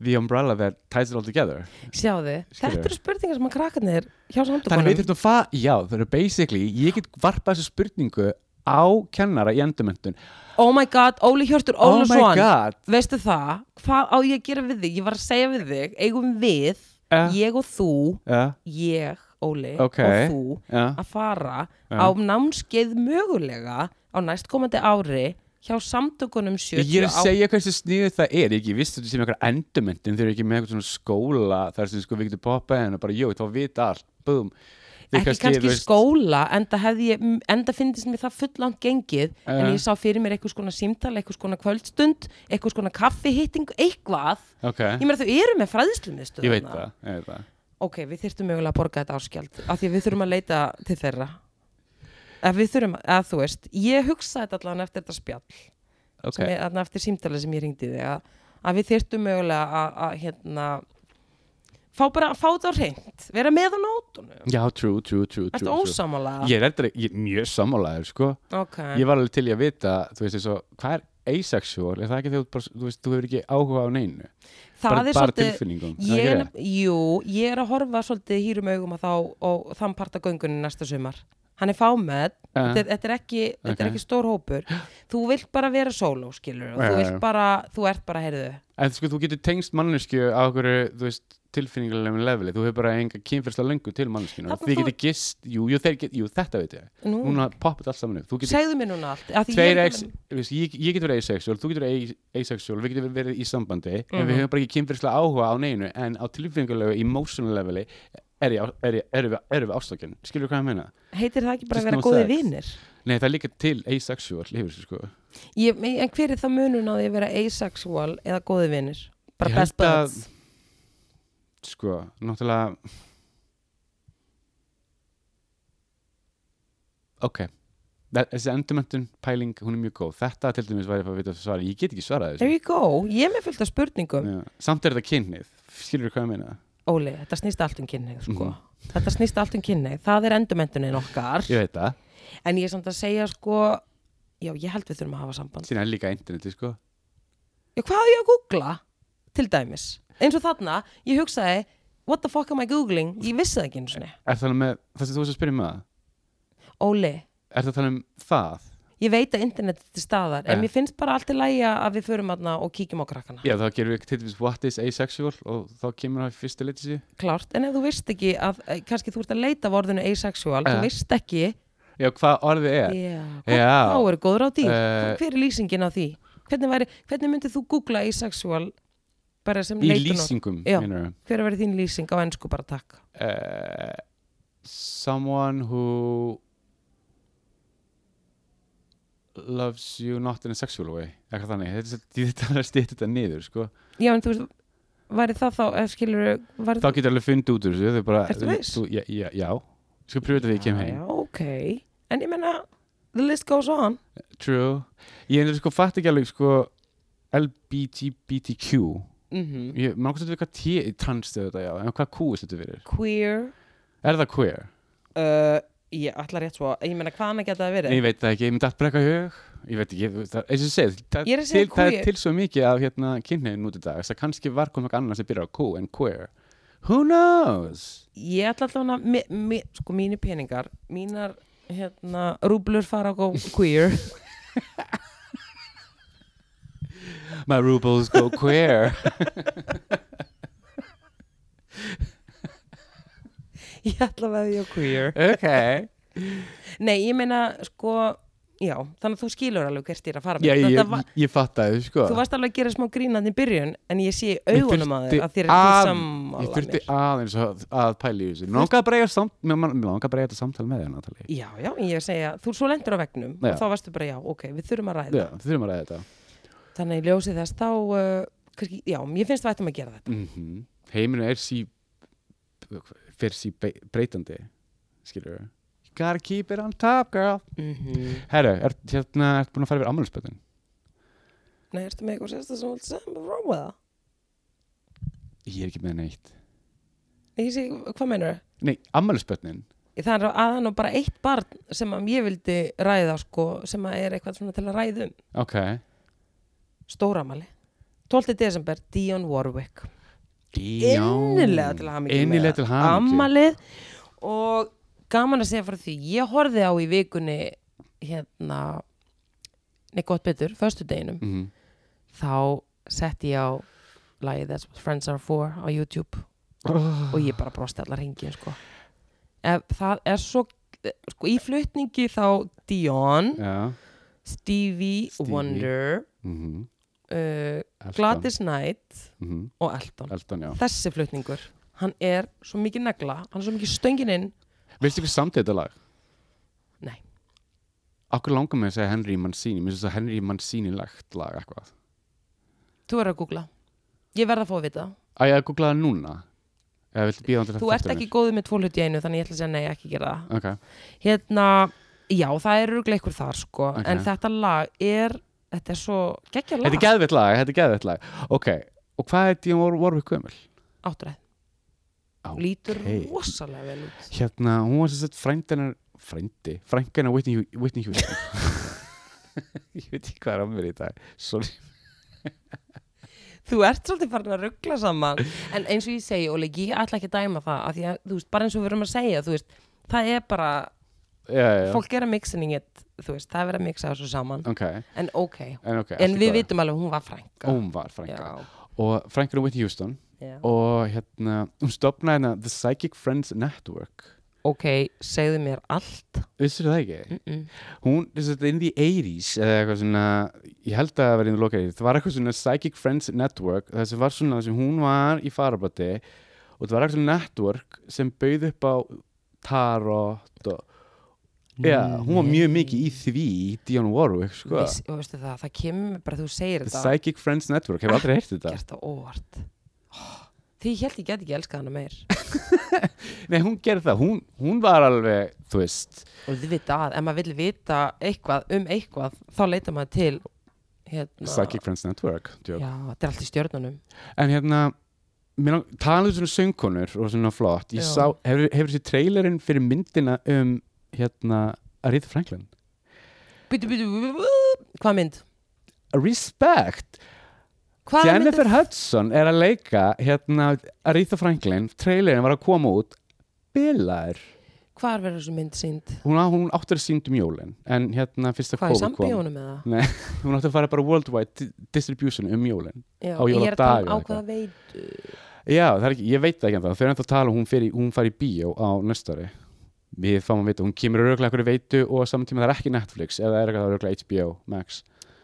S1: the umbrella that ties it all together?
S2: sjáðu,
S1: Skilurðu?
S2: þetta eru spurningar sem að krakkarnir hjá
S1: Þannig við
S2: samtökunum
S1: þurfum að fá, já, það eru basically, ég get varpað þessu spurningu á kennara í endumöndun.
S2: oh my god, Óli Hjörtur
S1: Oh my
S2: Ólusson
S1: god.
S2: veistu það, hvað á ég að gera við þig ég var að segja við þig, eigum við
S1: Eh.
S2: ég og þú,
S1: Já,
S2: ég Óli
S1: Ok. Eh?
S2: og þú
S1: já.
S2: að fara
S1: Já.
S2: á námskeið mögulega á næstkomandi ári hjá samtökunum 70
S1: Ég er að
S2: á-
S1: segja hversu sniðu það er, ég vissi þetta sem eitthvað endumöndun, þeir eru ekki með eitthvað svona skóla þar sem sko við getum poppað henn og bara, jú, þá vita allt, búm. Þeir
S2: ekki kannski,
S1: þú veist-
S2: skóla enda, hefði ég, m- enda fyndist mér það fullant gengið en
S1: Eh.
S2: ég sá fyrir mér eitthvað skona símtal eitthvað skona kvöldstund, eitthvað skona kaffihitting eitthvað,
S1: Ok,
S2: ég meira þau eru með fræðislu
S1: ég veit það, ég veit það.
S2: ok, við þyrftum mögulega að borga þetta áskjald af því að við þurfum að leita til þeirra að við þurfum, að þú veist ég hugsaði þetta allan eftir þetta spjall
S1: Ok,
S2: sem er þarna eftir símtala sem ég ringdi þig að, að við þyrftum mögulega að, að hérna fá bara, fá þetta á reynd vera með á nótunum,
S1: já, true, true, true, true.
S2: ertu
S1: true.
S2: ósamála
S1: Ég er eitthvað, ég er mjög sammálaður, sko.
S2: ok,
S1: Ég var alveg til í að vita, þú veist, eins og, hvað er asexual? Er það ekki þegar þú bara, þú veist, þú hefur ekki áhuga á neinu?
S2: það
S1: bara,
S2: er
S1: bara
S2: svolítið
S1: tilfinningum. Er það
S2: ég
S1: ekki
S2: er,
S1: rétt?
S2: nef- jú, ég er að horfa svolítið hýrum augum að þá og þann parta göngunni næsta sumar hann er fámedd
S1: Eh,
S2: þetta er, þetta er, ekki, þetta er
S1: Ok.
S2: ekki stór hópur þú vilt bara vera sóló skilur og
S1: Já, já,
S2: þú,
S1: já.
S2: vilt bara, þú ert bara heyrðu
S1: En sko, þú getur tengst mannesku á okkur, þú veist, tilfinningulegum leveli. Þú hefur bara enga kynfyrsla löngu til manneskinu.
S2: Þarna
S1: Þið
S2: þú-
S1: getur gist, jú, jú, þeir get, jú, þetta veit ég.
S2: nú,
S1: Núna poppið allt saman upp. Þú getur
S2: segðu mér núna allt af því ég
S1: tveir
S2: er ekki
S1: ex, viðst, ég, ég getur asexual, þú getur a- asexual við getum verið í sambandi en
S2: Mhm.
S1: við höfum bara ekki kynfyrslega áhuga á neinu en á tilfinningulegu, emotional leveli er ég á- er ég- erum við, er við ástökin skilur hvað ég meina?
S2: með- heitir það ekki bara
S1: Just
S2: að vera
S1: no
S2: góði
S1: sex.
S2: vinir
S1: Nei, það er líka til asexual lífis, sko.
S2: Ég, me- en hver er það munun á því að vera asexual eða góði vinnir? Bara
S1: Ég
S2: best
S1: held að-
S2: buds.
S1: sko, náttúrulega ok Þa- þessi endurmentun pæling, hún er mjög góð þetta til dæmis var ég að fá að vita svara ég get ekki svarað
S2: There
S1: þessu
S2: you go, ég er með fullt af spurningum.
S1: Já. samt er þetta kynnið, skilur hvað ég meina?
S2: Óli, þetta snýst allt um kynneið, sko.
S1: Mhm.
S2: Þetta snýst allt um kynneið, það er endurmentunin okkar.
S1: ég veit það,
S2: En ég er samt að segja, sko, já, ég held við þurfum að hafa samband.
S1: síðan er líka interneti sko
S2: Já, hvað á ég að googla, til dæmis? Eins og þarna, ég hugsaði, what the fuck am I googling? Ég vissi það ekki eins og
S1: Er það með, það sem þú varst að spyrja um það?
S2: Óli,
S1: Er það að tala um það?
S2: ég veit að internetið er til staðar, en
S1: Eh.
S2: mér finnst bara allt í lagi að við förum aðna og kíkjum á krakkana.
S1: Já, þá gerum við til dæmis what is asexual og þá kemur það í fyrsta liti síðu.
S2: klárt, en ef þú veist ekki að eh, kannski þú ert að leita af orðinu asexual
S1: Ja.
S2: þú veist ekki
S1: Já, hvað orðið er?
S2: yeah.
S1: Já.
S2: þá eru góður á því
S1: Eh.
S2: hver er lýsingin á því? Hvernig, væri, hvernig myndir þú googla asexual bara sem
S1: Í
S2: leitun
S1: lýsingum,
S2: Já.
S1: minnur við.
S2: hver verður þín lýsing á ennsku bara takk
S1: Uh, someone who loves you not in a sexual way. Eitthvað þannig. Þetta er- Þetta er að stýta þetta niður, sko.
S2: já en þú veist, væri það þá ef skilur var...
S1: Þá getur alveg fundið út úr þessu. þau bara-
S2: Ertu viss?
S1: þú- Já, já, já. Ég Skal pröfa þetta þegar ég kem um heim.
S2: já, ok, en ég menna the list goes on
S1: True. Ég endur sko fatt ekki alveg sko LBGBTQ.
S2: mm
S1: Ég maður kannski eitthvað T, trans þau þetta já, en hvað Q er þetta fyrir?
S2: queer
S1: Er það queer?
S2: uh, ég ætla rétt svo, ég menna hvaðan að geta það verið
S1: Ég veit það ekki, ég myndi alltaf brekka hug. Ég veit ekki, þú veist það, eins og ég segi, það,
S2: Ég er að
S1: til,
S2: segja
S1: það
S2: queer.
S1: er til svo mikið af hérna kynniðin út í dag, þess að kannski var komið eitthvað annað sem byrjar á Q en queer. Who knows?
S2: ég ætla allavega að mi- mi- sko mínir peningar mínar hérna rúblur fara á gó- queer
S1: My rubles go queer.
S2: ég ætla að veðja á queer
S1: ok.
S2: nei ég meina sko já þannig að þú skilur alveg hvert ég er að fara með.
S1: Já, ég,
S2: Þetta
S1: ég,
S2: var,
S1: ég fatt að þau sko.
S2: þú varst alveg að gera smá grínandi í byrjun en ég sé í
S1: Ég
S2: augunum að þér
S1: þurfti
S2: að þér
S1: að-
S2: er
S1: Ég
S2: sammála
S1: þurfti
S2: mér
S1: aðeins að, að pæla í þessu. Mér langaði bara að eiga samt- mér- mér- mér langaði bara að eiga þetta samtal með þér, Natalie.
S2: já já ég er að segja þú svo lendur á vegnum
S1: Já.
S2: og þá varstu bara já ok við þurfum að ræða
S1: Já, við þurfum að ræða þetta.
S2: þannig að ég ljósi þess þá uh, kannski, já ég finnst það ættum að gera þetta
S1: mm heiminu er sí fyrir sí breytandi skilur við Gotta keep it on top, girl Herru, er, hérna, ertu búin að fara yfir ammælisböndin?
S2: Nei, ertu með eitthvað sérstæð sem þú vilt segja með frá með það?
S1: Ég er ekki með neitt
S2: Ég sé, ekki- hvað meinar það?
S1: Nei, ammælisböndin
S2: Það er að hann og bara eitt barn sem að ég vildi ræða sko, sem að er eitthvað svona til að ræða um
S1: Ok
S2: stóramali 12. desember, Dionne Warwick innilega til hamingju með
S1: Innilega til hamingju.
S2: ammalið og gaman að segja frá því ég horfði á í vikunni hérna nei gott betur, föstudeginum
S1: Mhm.
S2: þá setti ég á lagið That's What Friends Are For á YouTube
S1: Ah.
S2: og ég bara brosti allar hringin sko. Ef, það er svo sko, í flutningi þá Dion,
S1: Já
S2: Stevie,
S1: Stevie. Sko.
S2: Wonder
S1: Mhm.
S2: uh,
S1: Elton.
S2: Gladys Knight
S1: Mhm.
S2: og Elton
S1: Elton, já
S2: þessi flutningur, hann er svo mikið negla, hann er svo mikið stöngin inn
S1: Veistu hvað samt þetta lag?
S2: nei,
S1: Akkur langar mig að segja Henry Mancini Mér finnst þess að Henry Mancini lagt lag eitthvað
S2: þú verður að googla ég verð að fá að vita,
S1: Æ, ég að googla það núna Eða viltu bíða hann til
S2: þú ert ekki góðið með tvo hluti í einu þannig ég ætla að segja nei, ekki gera það
S1: Ok,
S2: hérna, já það er ruglega ykkur þar sko,
S1: Ok.
S2: en þetta lag er þetta er svo geggja lag
S1: þetta er geðveitt lag, þetta er geðveitt lag Ok, og hvað er Díum War Warwick gömul?
S2: áttræð,
S1: Á,
S2: lítur
S1: ok.
S2: rosalega vel út
S1: Hérna, hún var sem sagt frændinar Frændi, frændinar Whitney, Hu- Whitney Houston Ég veit ekki hvað er á mér í dag Sorry
S2: þú ert svolítið farin að ruggla saman en eins og ég segi, Óli, ég ætla ekki að dæma það af því að, þú veist, bara eins og við erum að segja þú veist, það er bara,
S1: Já, já, já,
S2: fólk er að mixinning it, þú veist, það er verið að mixa þessu saman
S1: ok
S2: en ok,
S1: En, okay, allt
S2: en
S1: í
S2: við
S1: góðu.
S2: vitum alveg að hún var frænka
S1: Hún var frænka
S2: já,
S1: Og frænkan er Whitney Houston
S2: já.
S1: Og hérna, hún stopnaði hérna The Psychic Friends Network
S2: ok, segðu mér allt
S1: Vissir það ekki?
S2: mm -mm.
S1: hún, þess að þetta er inn í 80s eða eitthvað svona, ég held að það var inn í lokaðið, það var eitthvað svona Psychic Friends Network það sem var svona, þess að hún var í farabati og það var eitthvað svona network sem bauð upp á tarot og já, hún var mjög mikið í því Dionne Warwick, sko
S2: Viss, og veistu það, það kemur bara þú segir
S1: The
S2: þetta
S1: Psychic Friends Network, hefur aldrei heyrt þetta
S2: gert það óvart því ég held ég get ekki elskað hana meir
S1: nei, hún gerði það, hún, hún var alveg þú veist,
S2: og þið vita að, ef maður vil vita eitthvað um eitthvað, þá leita maður til hérna
S1: Psychic Friends Network
S2: já,
S1: djók.
S2: þetta er allt í stjörnunum
S1: en hérna mér lang- talandi um svona söngkonur og svona flott ég
S2: Já.
S1: sá, hefur, hefur þessi trailerinn fyrir myndina um hérna Aretha Franklin
S2: bítu, bítu, bítu, hvað mynd?
S1: Respect,
S2: Hvað
S1: Jennifer Hudson er að leika hérna Aretha Franklin trailerinn var að koma út bilaður,
S2: hvað verður þessu mynd sínd?
S1: hún, á- hún áttur að sýndum jólin en hérna fyrst að
S2: hvað er
S1: COVID kom
S2: sambíónum með það?
S1: hún áttur að fara bara worldwide di- distribution um jólin
S2: Já,
S1: Á
S2: ég er að tala
S1: jóladaga
S2: um á
S1: eitthvað.
S2: hvaða veitu
S1: já, það er ekki, ég veit það ekki en það þau er ennþá að tala, um hún, fer í- hún fari í bíó á næstari við fáum að vita, hún kemur örgulega einhverju veitu og á saman tíma það er ekki Netflix eða er eitthvað örgulega HBO Max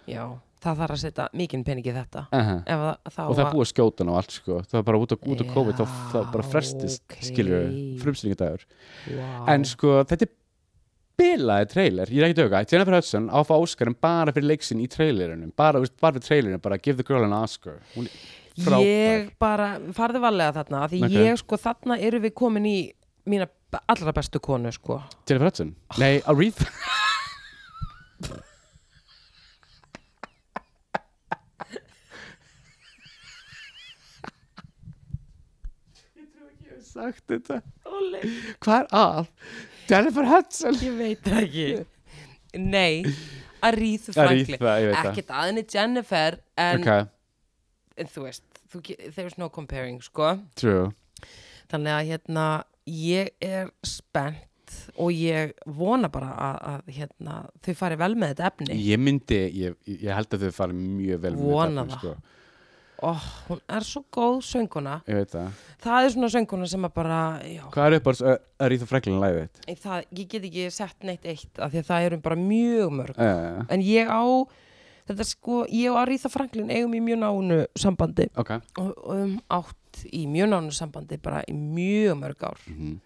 S2: já, það þarf að setja mikinn pening í þetta
S1: uh -huh.
S2: ef það, þá
S1: og það er
S2: að-
S1: búið að skjóta hann á allt sko. það er bara út á, út á
S2: Já,
S1: COVID þá, þá bara frestist
S2: ok.
S1: okay. skilur frumsýningadagur
S2: Vá.
S1: en sko þetta er bilaði trailer, ég er ekki döga Jennifer Hudson á að fá Óskarum bara fyrir leiksin í trailerinum bara, veist, bara fyrir trailerinum, bara give the girl an Oscar hún er frábær
S2: ég bara farði varlega þarna af því
S1: Ok.
S2: ég sko þarna eru við komin í mína b- allra bestu konu sko
S1: Jennifer Hudson, nei Aretha Ég trú ekki að ég hef sagt þetta
S2: Óli.
S1: Hvað er að? Jennifer Hudson
S2: ég veit það ekki nei, Aretha Franklin
S1: Aretha, ég veit það.
S2: ekkert aðinni Jennifer en,
S1: Ok,
S2: en þú veist, þú, ge- there's no comparing sko
S1: true
S2: þannig að hérna ég er spennt og ég vona bara að, að hérna, þau fari vel með þetta efni
S1: Ég myndi, ég, ég held að þau fara mjög vel með
S2: Vona
S1: þetta,
S2: það.
S1: sko.
S2: oh, hún er svo góð sönguna
S1: Ég veit það
S2: það er svona sönguna sem að bara já,
S1: Hvað er upp að Aretha Franklin læðið þitt?
S2: Nei, það, ég get ekki sett neitt eitt af því að það eru bara mjög mörg
S1: Uh,
S2: en ég á þetta sko, ég og Aríða Franklin eigum í mjög nánu sambandi
S1: ok
S2: og um átt í mjög nánu sambandi bara í mjög mörg ár
S1: Mhm.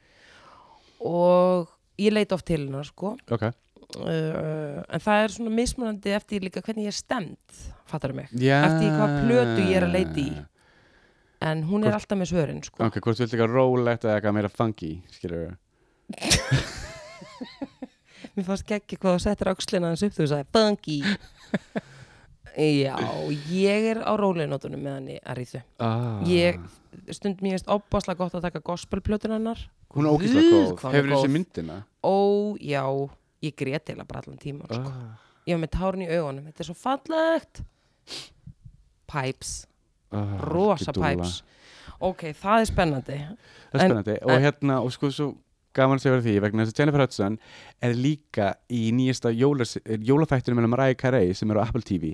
S2: og ég leit oft til hennar sko
S1: Ok
S2: uh, en það er svona mismunandi eftir líka hvernig ég er stemd fattar mig,
S1: yeah.
S2: eftir í hvað plötu ég er að leita í en hún er alltaf með svörin sko
S1: Ok, hvort þú vilt eitthvað rólegt eða eitthvað meira funky, skilur við
S2: Mér fannst ekki hvað þú settir öxlina hans upp þú sagði Bunky Já, ég er á rólinótunum með hann í Aríðu
S1: ah.
S2: Ég, stundum ég veist opaslega gott að taka gospelplötun hennar
S1: Hún er ógæslega
S2: Guð,
S1: góð,
S2: hvað hún er
S1: hefur þessi
S2: góð.
S1: myndina
S2: Ó, já, ég grét eila bara allan tíma sko.
S1: ah.
S2: Ég var með tárn í augunum, þetta er svo fallegt Pipes,
S1: Ah,
S2: rosa
S1: ekki dúlla.
S2: pipes Ok, það er spennandi
S1: Það er
S2: En-
S1: spennandi og hérna, og sko svo gaman að segja verið því, vegna þess að Jennifer Hudson er líka í nýjasta jólas, jólafættinu með Mariah Carey sem er á Apple TV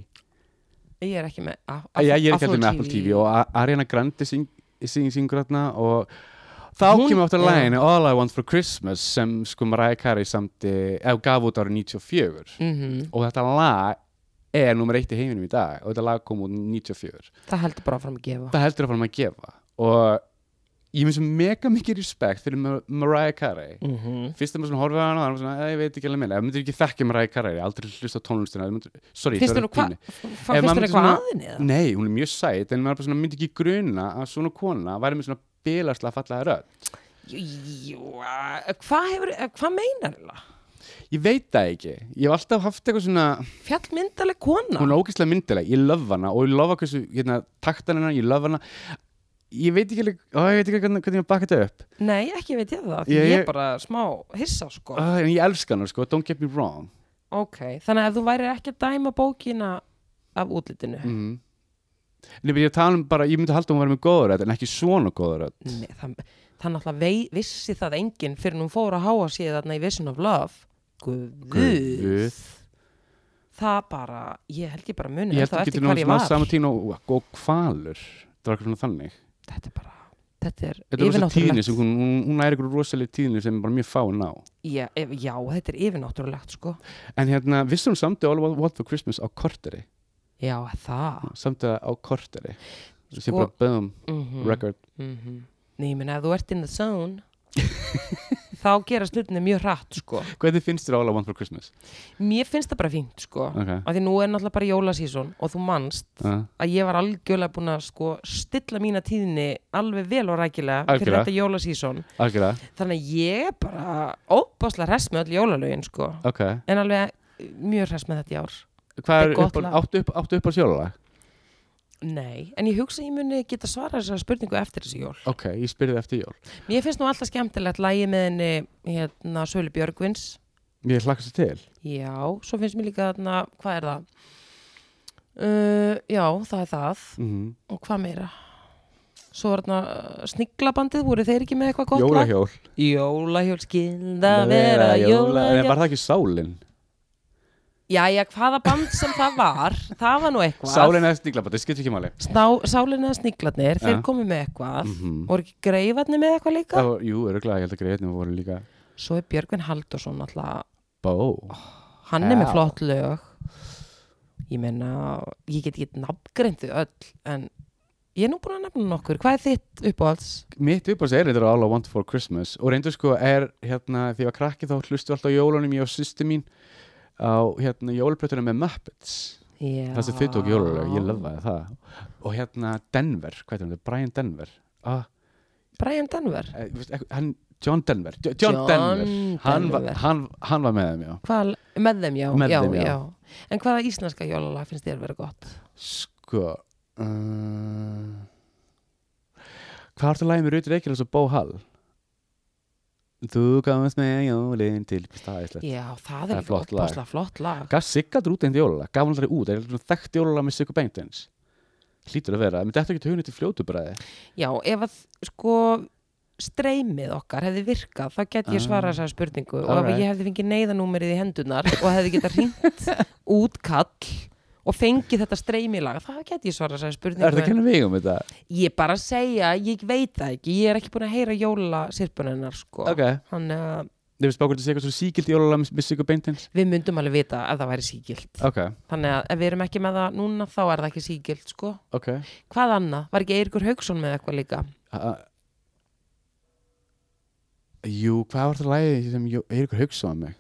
S2: Ég er ekki með a-
S1: Æ, ég er ekki
S2: Apple
S1: allir með Apple TV og A- Ariana Grande syng, syng, syngur hérna og þá
S2: Hún-
S1: kemur aftur
S2: já.
S1: læginu All I Want For Christmas sem sko Mariah Carey samti, eða gaf út árið 94
S2: Mhm.
S1: og þetta lag er nummer eitt í heiminum í dag og þetta lag kom út 94
S2: Það heldur bara fram að gefa
S1: það heldur að fara maður að gefa og ég finnst mega mikið respekt fyrir Mar- Mariah Carey
S2: mm -hmm.
S1: fyrst þegar maður svona horfið á hana og það var svona, "Æ, ég veit ekki alveg meina, ef myndir ekki þekka mér ræði karriði, aldrei hlusta á tónlistina ef myndir, sorry,
S2: Finnst
S1: það
S2: þér
S1: var
S2: nú hvað
S1: tími Ef
S2: Finnst
S1: maður
S2: þér
S1: myndi
S2: eitthvað
S1: svona-
S2: aðinni eða?
S1: nei, hún er mjög sæt, en maður bara svona myndi ekki gruna að svona kona væri með svona bilarslega fallega rödd
S2: Jú, jú, að- Hvað hefur, að- hvað meinar það?
S1: ég veit það ekki, ég hef alltaf haft eitthvað svona
S2: Fjallmyndaleg kona
S1: hún er ógeðslega myndileg, ég löf hana og ég löf að hversu, hérna, taktan hennar, ég löf hana ég veit ekki alveg, ó, ég veit ekki hvernig, hvernig ég bakka þetta upp
S2: Nei, ekki veit ég
S1: Ég-
S2: það, ég, ég
S1: ég-
S2: er bara smá hissa sko
S1: uh, en ég elska hana, sko, don't get me wrong
S2: Ok, þannig að ef þú værir ekki að dæma bókina af útlitinu
S1: mm. Nei, bara ég tala um bara, ég myndi halda að hún var með góður rödd en ekki svona góður rödd
S2: Nei, það, það náttúrulega vei, vissi það enginn fyrir hún fór að háa sér E þarna í Vision of Love Guð
S1: Guð.
S2: Það bara, ég held ég bara muni
S1: ég
S2: ég
S1: held að
S2: það
S1: þú
S2: eftir
S1: getur
S2: hvað ég
S1: náttúrulega
S2: var
S1: saman tíma og, og kvalur það var eitthvað svona þannig
S2: Þetta er bara, þetta er
S1: þetta er rosa tíðni
S2: yfirnáttúrulegt
S1: sem hún, hún, hún er eitthvað rosalega tíðni sem er bara mjög fáin á
S2: já, ef- já, þetta er yfirnáttúrulegt sko
S1: en hérna, vissum hún samt All About What For Christmas á korteri
S2: Já, það
S1: samt að á korteri sem
S2: Sko-
S1: bara boom,
S2: mm
S1: record
S2: Nei, ég meina, ef þú ert in the zone þá gerast hlutinni mjög hratt sko
S1: hvernig finnst þér All About What For Christmas?
S2: Mér finnst það bara fínt sko
S1: ok,
S2: af því nú er náttúrulega bara jólasísón og þú manst
S1: uh,
S2: að ég var algjörlega búin að sko stilla mína tíðinni alveg vel og rækilega fyrir
S1: Algjörlega.
S2: þetta jólasísón
S1: algjörða
S2: þannig að ég er bara óbáslega hress með öll jólalögin sko
S1: ok,
S2: en alveg eh, mjög hress með þetta í ár
S1: hvað
S2: Þetta
S1: er
S2: er gott
S1: upp,
S2: lag.
S1: áttu upp, áttu upp á sjólalag?
S2: Nei, en ég hugsa að ég muni geta svarað þessari spurningu eftir þessi jól
S1: ok, ég spyrði eftir jól
S2: Mér finnst nú alltaf skemmtilegt lægi með henni hérna Sölu Björgvins
S1: ég hlakka sér til
S2: Já, svo finnst mér líka þarna, hvað er það? Uh, já, það er það
S1: mm
S2: og hvað meira svo var þarna uh, sniglabandið voru þeir ekki með eitthvað gott lag
S1: jólahjól
S2: jólahjól skilda vera
S1: en
S2: jólahjól
S1: var það ekki sálin?
S2: jæja hvaða band sem það var það var nú eitthvað
S1: sálin eða stíklabata, það skiptir ekki máli
S2: Sná, sálin eða sniglarnir, þeir
S1: Ja.
S2: komu með eitthvað
S1: Mhm.
S2: voru ekki greifarnir með eitthvað líka
S1: Það var, jú, öruglega, ég held að greiðnum voru líka
S2: svo er Björgvin Haldursson alltaf
S1: bó.
S2: hann er
S1: Já.
S2: með flott lög ég meina ég get ekki nafngreint þau öll en ég er nú búin að nefna nokkur hvað er þitt uppáhalds?
S1: Mitt uppáhalds er þetta All I Want For Christmas og reyndu sko er, hérna, því að krakki þá hlustu alltaf á jólunum, ég og sýstu mín á, hérna, jólaplötuna með Muppets
S2: Já.
S1: það sem þau tók jólulög, ég löfaði það og hérna Denver, hvað er það, Brian Denver ah,
S2: Brian Denver
S1: eh, þú veist, ekk- hann, John Denver Jo- John,
S2: John
S1: Denver, Hann, var,
S2: Denver.
S1: hann, hann var með þeim, já
S2: Hvað, með þeim, já,
S1: Með
S2: já,
S1: þeim, já.
S2: já. En hvaða íslenska jólalag finnst þér vera gott?
S1: sko uh, hvað er það lagið með Rutur Reykjavík og Bó Hall? Þú komast með jólinn til það er slett
S2: Já, það
S1: Það er
S2: er líka
S1: flott lag.
S2: opaslega flott lag.
S1: gaf Sigga drút einn jólulega, gaf hann aldrei út það er svona þekkt jólulega með Sigga Bengtins hlýtur að vera, menn þetta ekki hugnið til fljótubræði
S2: Já, ef að, sko, streymið okkar hefði virkað, þá get ég
S1: Ah.
S2: svarað þessari spurningu og
S1: Alright.
S2: ef ég hefði fengið neyðanúmerið í hendunar og hefði getað hringt út kall og fengið þetta streymilag, þá get ég svarað þessari
S1: er það
S2: spurningu.
S1: að kenna mig um þetta?
S2: Ég bara að segja, ég veit það ekki, ég er ekki búin að heyra jólasirpunennar, sko.
S1: ok,
S2: Þannig að
S1: þið veist bákvæmt að segja eitthvað svo síkild jólulega með, með Sigga Bengtins
S2: við myndum alveg vita að það væri síkilt.
S1: ok,
S2: Þannig að ef við erum ekki með það núna þá er það ekki sígilt sko.
S1: ok
S2: Hvað annað? Var ekki Eirikur Haugsson með eitthvað líka?
S1: uh, jú, hvað var það lagið sem Eirikur hugsaði mig?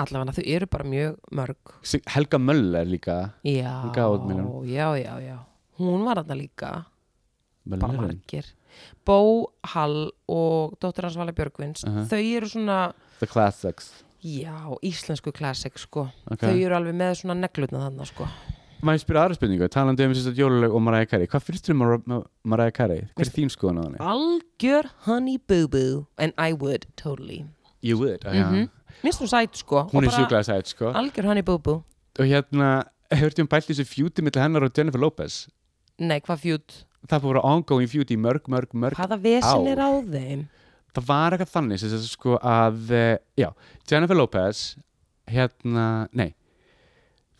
S2: Allavega þau eru bara mjög mörg.
S1: Sig- Helga Möller líka
S2: Já,
S1: Hún gaf út milljón.
S2: já, já, já. Hún var þarna líka, bara
S1: Möllerinn.
S2: margir. Bó Hall og dóttir hans Vala Björgvins,
S1: Mhm.
S2: þau eru svona,
S1: The Classics
S2: Já, íslensku klassik sko
S1: Ok.
S2: Þau eru alveg með svona neglutna þannig sko
S1: Má ég spyrja aðra spurningu, talandi um sérstætt jóluleg og Mariah Carey, hvað finnst þér um Mar- Mar- Mariah Carey? Hver er þín skoðan á
S2: Ah.
S1: henni?
S2: Algjör honey boo boo And I would totally
S1: You would, ah,
S2: Mhm. Minnst hún sæt sko og
S1: Hún er
S2: bara
S1: sjúklega sætt, sko.
S2: Algjör honey boo boo
S1: Og hérna, hefur þið um bælt í þessu fjúti millir hennar og Jennifer Lopez?
S2: Nei, hvað fjút
S1: Það búið að vera ongoing fjúti í mörg, mörg, mörg
S2: Hvaða vesen
S1: ár.
S2: er á þeim
S1: það var eitthvað þannig sem sagt, sko, að eh, já, Jennifer Lopez hérna, nei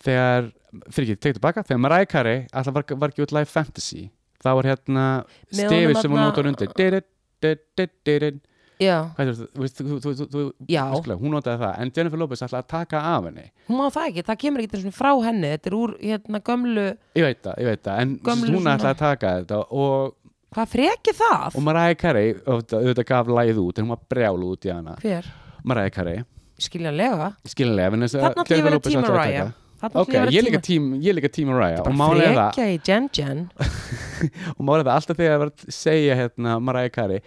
S1: þegar, fyrir ekki, tekið tilbaka þegar Mariah Carey, alltaf var, var ekki út live fantasy þá var hérna
S2: Með
S1: stefið
S2: honum
S1: sem hún
S2: þarna-
S1: notar undir Didid, did, did, didid.
S2: Já,
S1: hvað er það, þú veist, þú, þú, þú, þú
S2: Já.
S1: óskilega, hún notaði það, en Jennifer Lopez ætlaði að taka af henni
S2: hún má það ekki, það kemur ekki svona frá henni Þetta er úr hérna gömlu
S1: ég veit það, ég veit það, en
S2: Gömlu
S1: Gömlu hún
S2: svona-
S1: ætlaði að taka þetta og,
S2: Hvað freki það?
S1: og Mariah Carey auðvitað, auðvitað gaf lagið út, en hún var brjálu út í hana
S2: Hver?
S1: Mariah Carey,
S2: Skiljanlega
S1: skiljanlega vegna þess að
S2: Þarna ætlum ég að
S1: Jennifer
S2: vera
S1: Lopez
S2: Team
S1: ætlaði að
S2: Mariah.
S1: taka.
S2: Þarna
S1: Ok,
S2: ætlum ég að
S1: ég er líka
S2: vera tíma
S1: tím, ég er líka tím Mariah og málið er það,
S2: Frekja í Jen Jen
S1: og málið er það alltaf þegar ég var að segja hérna Mariah Carey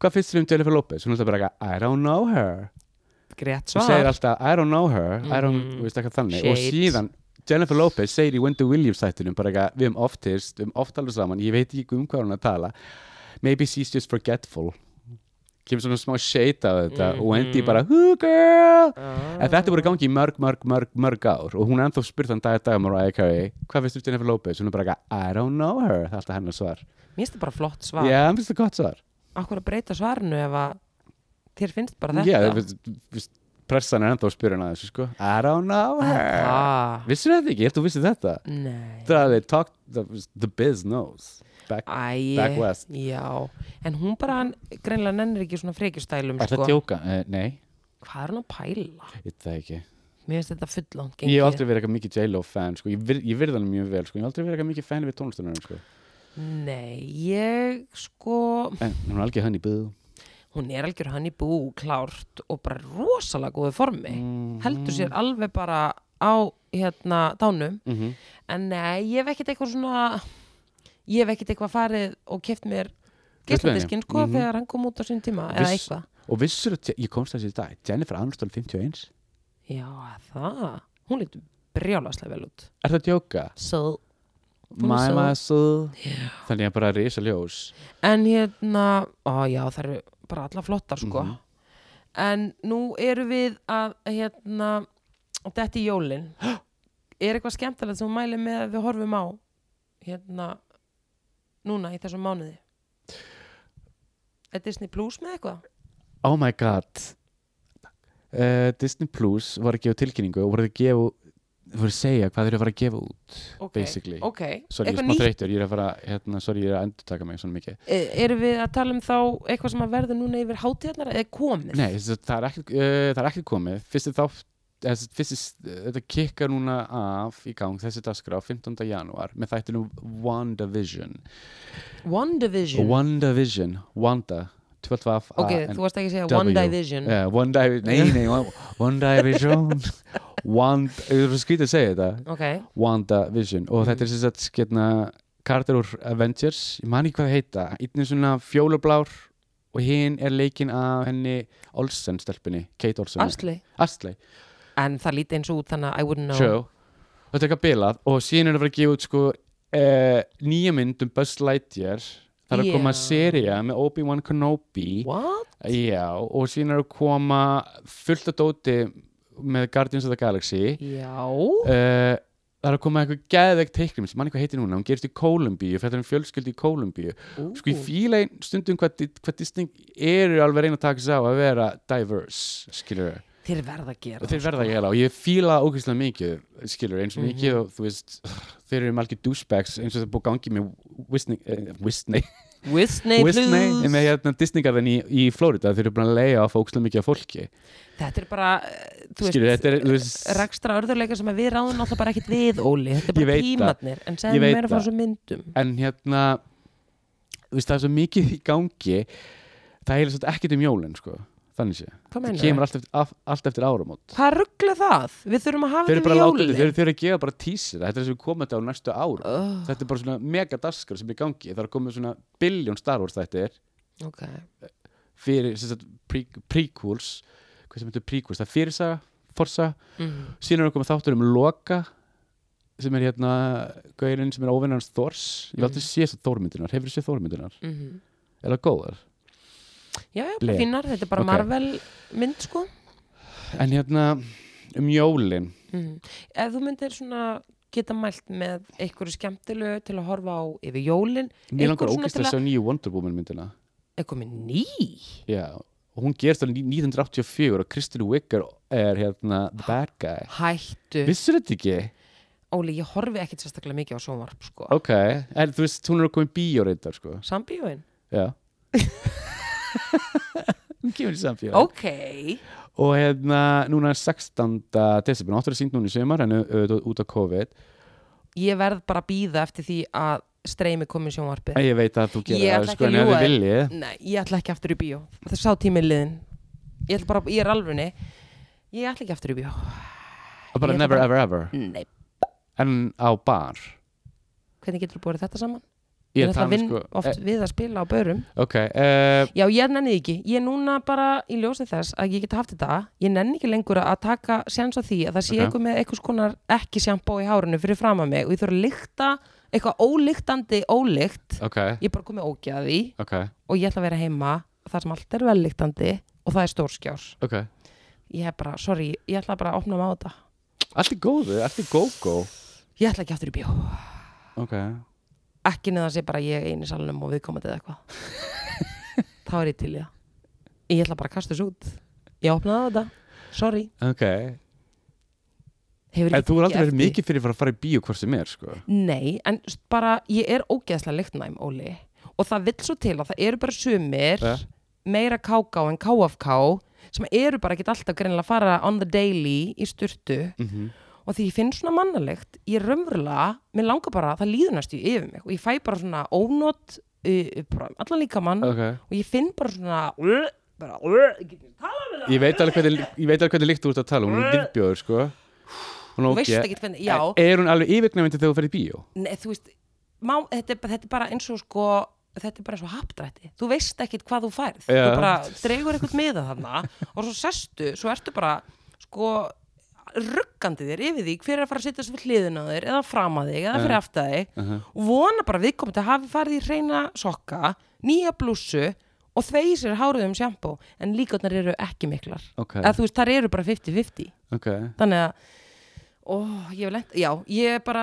S1: hvað finnst þér um Jennifer Lopez? Hún er alltaf bara eitthvað, I don't know her
S2: Grétt
S1: hún segir
S2: svar
S1: alltaf, I don't know her I don't,
S2: Mhm.
S1: þú veist eitthvað þannig og
S2: Shades.
S1: síðan Jennifer Lopez segir í Wendy Williams þættinum bara eitthvað, við erum oftist, við erum oft alveg saman ég veit ekki um hvað hún er að tala maybe she's just forgetful kemur svona smá shade á þetta og
S2: Mm-hmm.
S1: Wendy bara, hú girl
S2: Ah.
S1: En þetta voru gangi í mörg, mörg, mörg, mörg ár og hún er ennþá spurt hann dag að dag um Mariah Carey hvað finnst þú um Jennifer Lopez? Hún er bara eitthvað, I don't know her það er alltaf hennar svar
S2: Mér finnst það bara flott svar
S1: Já, hann finnst það gott svar
S2: Akkur að breyta svarinu ef að þér finnst bara
S1: Já,
S2: þetta
S1: þú veist- þú veist, pressan er ennþá að spyrja hann að þessu sko I don't know her
S2: ah,
S1: Vissir þetta ekki? Ég held þú vissir þetta
S2: Nei
S1: Það er að they talk, the, the biz knows Back,
S2: Æ,
S1: Back West.
S2: já En hún bara, hann, greinlega nennir ekki svona frekjustælum
S1: Er það
S2: sko.
S1: djóka? Uh, nei,
S2: Hvað er hann að pæla?
S1: ég veit það ekki
S2: Mér finnst þetta fullant
S1: Ég hef aldrei verið eitthvað mikið J-Lo fan sko. Ég, vir, ég virði hann mjög vel sko. Ég hef aldrei verið eitthvað mikið fan við tónlistunum sko.
S2: Nei, ég sko
S1: En hún er algjör hann í byðu
S2: Hún er algjör hann í bú, klárt og bara rosalega góðu formi
S1: Mhm.
S2: Heldur sér alveg bara á hérna dánum
S1: Mhm.
S2: En nei, ég hef ekkert eitthvað svona Ég hef ekkert eitthvað farið og keft mér
S1: Veistu það,
S2: geisladiskin
S1: já.
S2: sko
S1: Mhm.
S2: þegar hann kom út á sín tíma eða
S1: Viss-
S2: eitthvað
S1: Og vissur að, ég komst þessi í dag Jennifer Aniston 51
S2: Já, það, hún lítur brjálaslega vel út
S1: Er það að djóka?
S2: So Hún er
S1: My
S2: svo-
S1: muscle Þannig að bara risa ljós
S2: En hérna, á já, það eru bara alla flottar
S1: Mhm.
S2: sko En nú erum við að hérna, þetta í jólin Er eitthvað skemmtilegt sem hún mæli með að við horfum á hérna núna í þessum mánuði Er Disney Plus með eitthvað?
S1: Oh my god uh, Disney Plus var að gefa tilkynningu og voru að gefa voru að segja hvað þeir eru að fara að gefa út
S2: Ok,
S1: basically
S2: Ok,
S1: Sorry, ég er
S2: eitthvað
S1: smá
S2: nýtt
S1: þreytur, ég er að fara hérna, sorry, ég er að endurtaka mig svona mikið
S2: E- Erum við að tala um þá eitthvað sem að verða núna yfir hátíðarnar eða komið?
S1: Nei, þess að það er ekkert, uh, það er ekkert komið fyrsti þátt eh, eða sem sagt, Fyrst, þetta kikkar núna af í gang þessi dagskrá 15. janúar með þættinum WandaVision
S2: WandaVision
S1: WandaVision, Wanda 12 af
S2: Ok, þú varst ekki að segja
S1: W.
S2: WandaVision
S1: Yeah, one dive, Eh, nei, nei, one, one dive vision One, þú erum skrítið að segja þetta
S2: Ok,
S1: Wanda Vision og
S2: Mhm.
S1: þetta er sem sagt sketna Carter úr Avengers ég man ekki hvað það heita, einn er svona fjólublár og hinn er leikinn af henni Olsen stelpunni Kate Olsen,
S2: Asli
S1: Astley
S2: En það líti eins og út þannig að I wouldn't know
S1: show og þetta er eitthvað bilað og síðan er að vera að gefa út sko eh, nýja mynd um Buzz Lightyear það er að
S2: Já.
S1: koma seria með Obi-Wan Kenobi
S2: What?
S1: já, og síðan er að koma fullt að dóti með Guardians of the Galaxy
S2: Já
S1: uh, það er að koma eitthvað geðvegt teiknum sem mann eitthvað heitir núna, hún gerist í Kólumbíu fyrir um fjölskyldi í Kólumbíu sko ég fíla ein stundum hvað, di- hvað Disney eru alveg að reyna að taka sig á að vera diverse, skilur
S2: Þeir verða að gera sko.
S1: og þeir verða að gera það og ég fíla það ógeðslega mikið, skilur eins og
S2: Mhm.
S1: mikið og þú veist þeir eru margir douchebags eins og það er búið gangi með Disney, eh, Disney
S2: það Whitney
S1: Disney,
S2: Plus
S1: með hérna Disneygarðin í, í Florida þeir eru búin að leiða á fókslega mikið af fólki
S2: Þetta er bara, eh, þú veist
S1: skilur, þetta er, þú veist
S2: Rekstra örðurleika sem að við ráðum alltaf bara ekkert við, Óli Þetta er
S1: Ég
S2: bara
S1: veit það.
S2: tímatnir En
S1: Ég
S2: segðum
S1: veit
S2: mér að fara
S1: það.
S2: svo myndum
S1: en hérna þú veist, það er svo mikið í gangi það heilir svolítið ekkert um jólin sko. þannig sé,
S2: Hvað
S1: það
S2: meinarðu?
S1: kemur allt eftir, af, allt eftir áramót
S2: Hvað ruggla það? Við þurfum að hafa
S1: þeir eru
S2: þetta
S1: bara
S2: við
S1: látið,
S2: jólin
S1: þeir, þeir eru að gefa bara tísir þetta er sem við komum þetta á næstu ár
S2: Oh,
S1: þetta er bara svona mega daskar sem er í gangi það er komið svona biljón Star Wars þetta er
S2: okay.
S1: fyrir sem sagt, pre prequels hvað sem heitir príkvist, það er fyrirsaga, forsa
S2: mm.
S1: síðan er okkur með þáttur um Loka sem er hérna gaurinn sem er óvinnarns Þors ég valdi
S2: Mhm.
S1: að sé þess að Þórmyndunar, hefur séð Þórmyndunar
S2: Mm -hmm.
S1: er það góðar?
S2: já, já,
S1: Ble.
S2: bara fínar, þetta er bara
S1: Ok.
S2: Marvel mynd sko
S1: En hérna um jólin
S2: mm. ef þú myndir svona geta mælt með einhverju skemmtilegu til að horfa á yfir jólin
S1: mér langar
S2: Einhver svona
S1: ógist
S2: til
S1: að
S2: að-
S1: sjá nýju Wonder Woman myndina
S2: eitthvað með ný
S1: Já, og hún gerst alveg 1984 og Kristen Wiig er- er hérna the bad guy
S2: hættu,
S1: Vissur þetta ekki?
S2: Óli, ég horfi ekkit sérstaklega mikið á sjónvarp sko
S1: Ok, en þú veist, hún er komin bíó reyndar sko
S2: sambíóin,
S1: Já Hún kemur í samfélag
S2: ok
S1: og hérna núna er 16. desember, hún áttur að sínd núna í sumar en auðvitað út af COVID
S2: ég verð bara að býða eftir því að streymi komi í sjónvarpið
S1: en ég veit að þú gerir
S2: Ég
S1: það
S2: ætla
S1: sko
S2: ekki að
S1: en ef
S2: ljúga
S1: þið
S2: þér.
S1: viljið
S2: Nei, ég ætla ekki aftur í bíó Það sá tíminn liðin Ég ætla bara, ég er alfunni Ég ætla ekki aftur í bíó
S1: og bara
S2: Ég ætla
S1: never
S2: bara-
S1: ever ever
S2: Nei,
S1: en á bar
S2: hvernig getur þú búið þetta saman?
S1: ég
S2: er
S1: er
S2: ætla að
S1: þannig
S2: vinna
S1: sko
S2: oft
S1: eh,
S2: við að spila á börum
S1: ok, uh,
S2: Já, ég nenni því ekki Ég er núna bara í ljósi þess að ég get haft þetta Ég nenni ekki lengur að taka séns á því að það sé
S1: Ok.
S2: eitthvað með eitthvað skonar ekki sjampó í hárinu fyrir fram að mig og ég þurf að lykta eitthvað ólyktandi ólykt
S1: ok,
S2: Ég er bara komið ógjaði
S1: ok
S2: og ég ætla að vera heima þar sem allt er vellyktandi og það er stórskjár
S1: ok,
S2: Ég er bara, sorry, ég ætla bara að opna mig á þetta
S1: allt er góðu, allt er go-go
S2: ég ætla ekki aftur í bjó
S1: ok,
S2: ekki neðan sé bara ég einu í salnum og viðkomandi eða eitthvað þá er ég til í það ég ætla bara að kasta þessu út ég opnaði á þetta, sorry
S1: ok
S2: hefur
S1: en þú er aldrei verið
S2: tekið eftir-
S1: mikið fyrir að fara í bíó hvort sem er sko
S2: nei, en s- bara ég er ógeðslega lyktnæm, Óli og það vill svo til að það eru bara sumir
S1: Ja.
S2: meira KK en KFK sem eru bara ekkert alltaf greinilega að fara on the daily í styrtu
S1: Mhm.
S2: og því ég finn svona mannalegt ég raunverulega, mér langar bara það líður næstu yfir mig og ég fæ bara svona ónót uh, bara allan líkamann
S1: ok,
S2: og ég finn bara svona uh, bara, uh, ég get ekki talað við það
S1: ég veit alveg hvernig ég veit alveg hvernig líkt þú ert að tala, hún er viðbjóður sko hún
S2: Þú
S1: er
S2: veist
S1: ok
S2: ekki hvernig, já,
S1: er hún alveg yfirgnæmindi þegar þú ferð í bíó
S2: nei, þú veist má, þetta, er, bara- þetta er bara eins og sko þetta er bara eins og hapdrætti, þú veist ekkit hvað þú færð
S1: Já.
S2: þú bara dregur eitthvað meða þarna og svo sestu, svo ertu bara sko ruggandi þér yfir því hver er að fara að setja svo hliðin á þér eða fram að þig eða fyrir aftar þig
S1: uh
S2: og vona bara að viðkomandi hafi farið í reyna sokka, nýja blússu og þvegi sér hárið um sjampó en líkotnar eru ekki miklar
S1: ok,
S2: að þú veist, þar eru bara 50-50
S1: ok
S2: þannig að ó, ég hef lent, já, ég er bara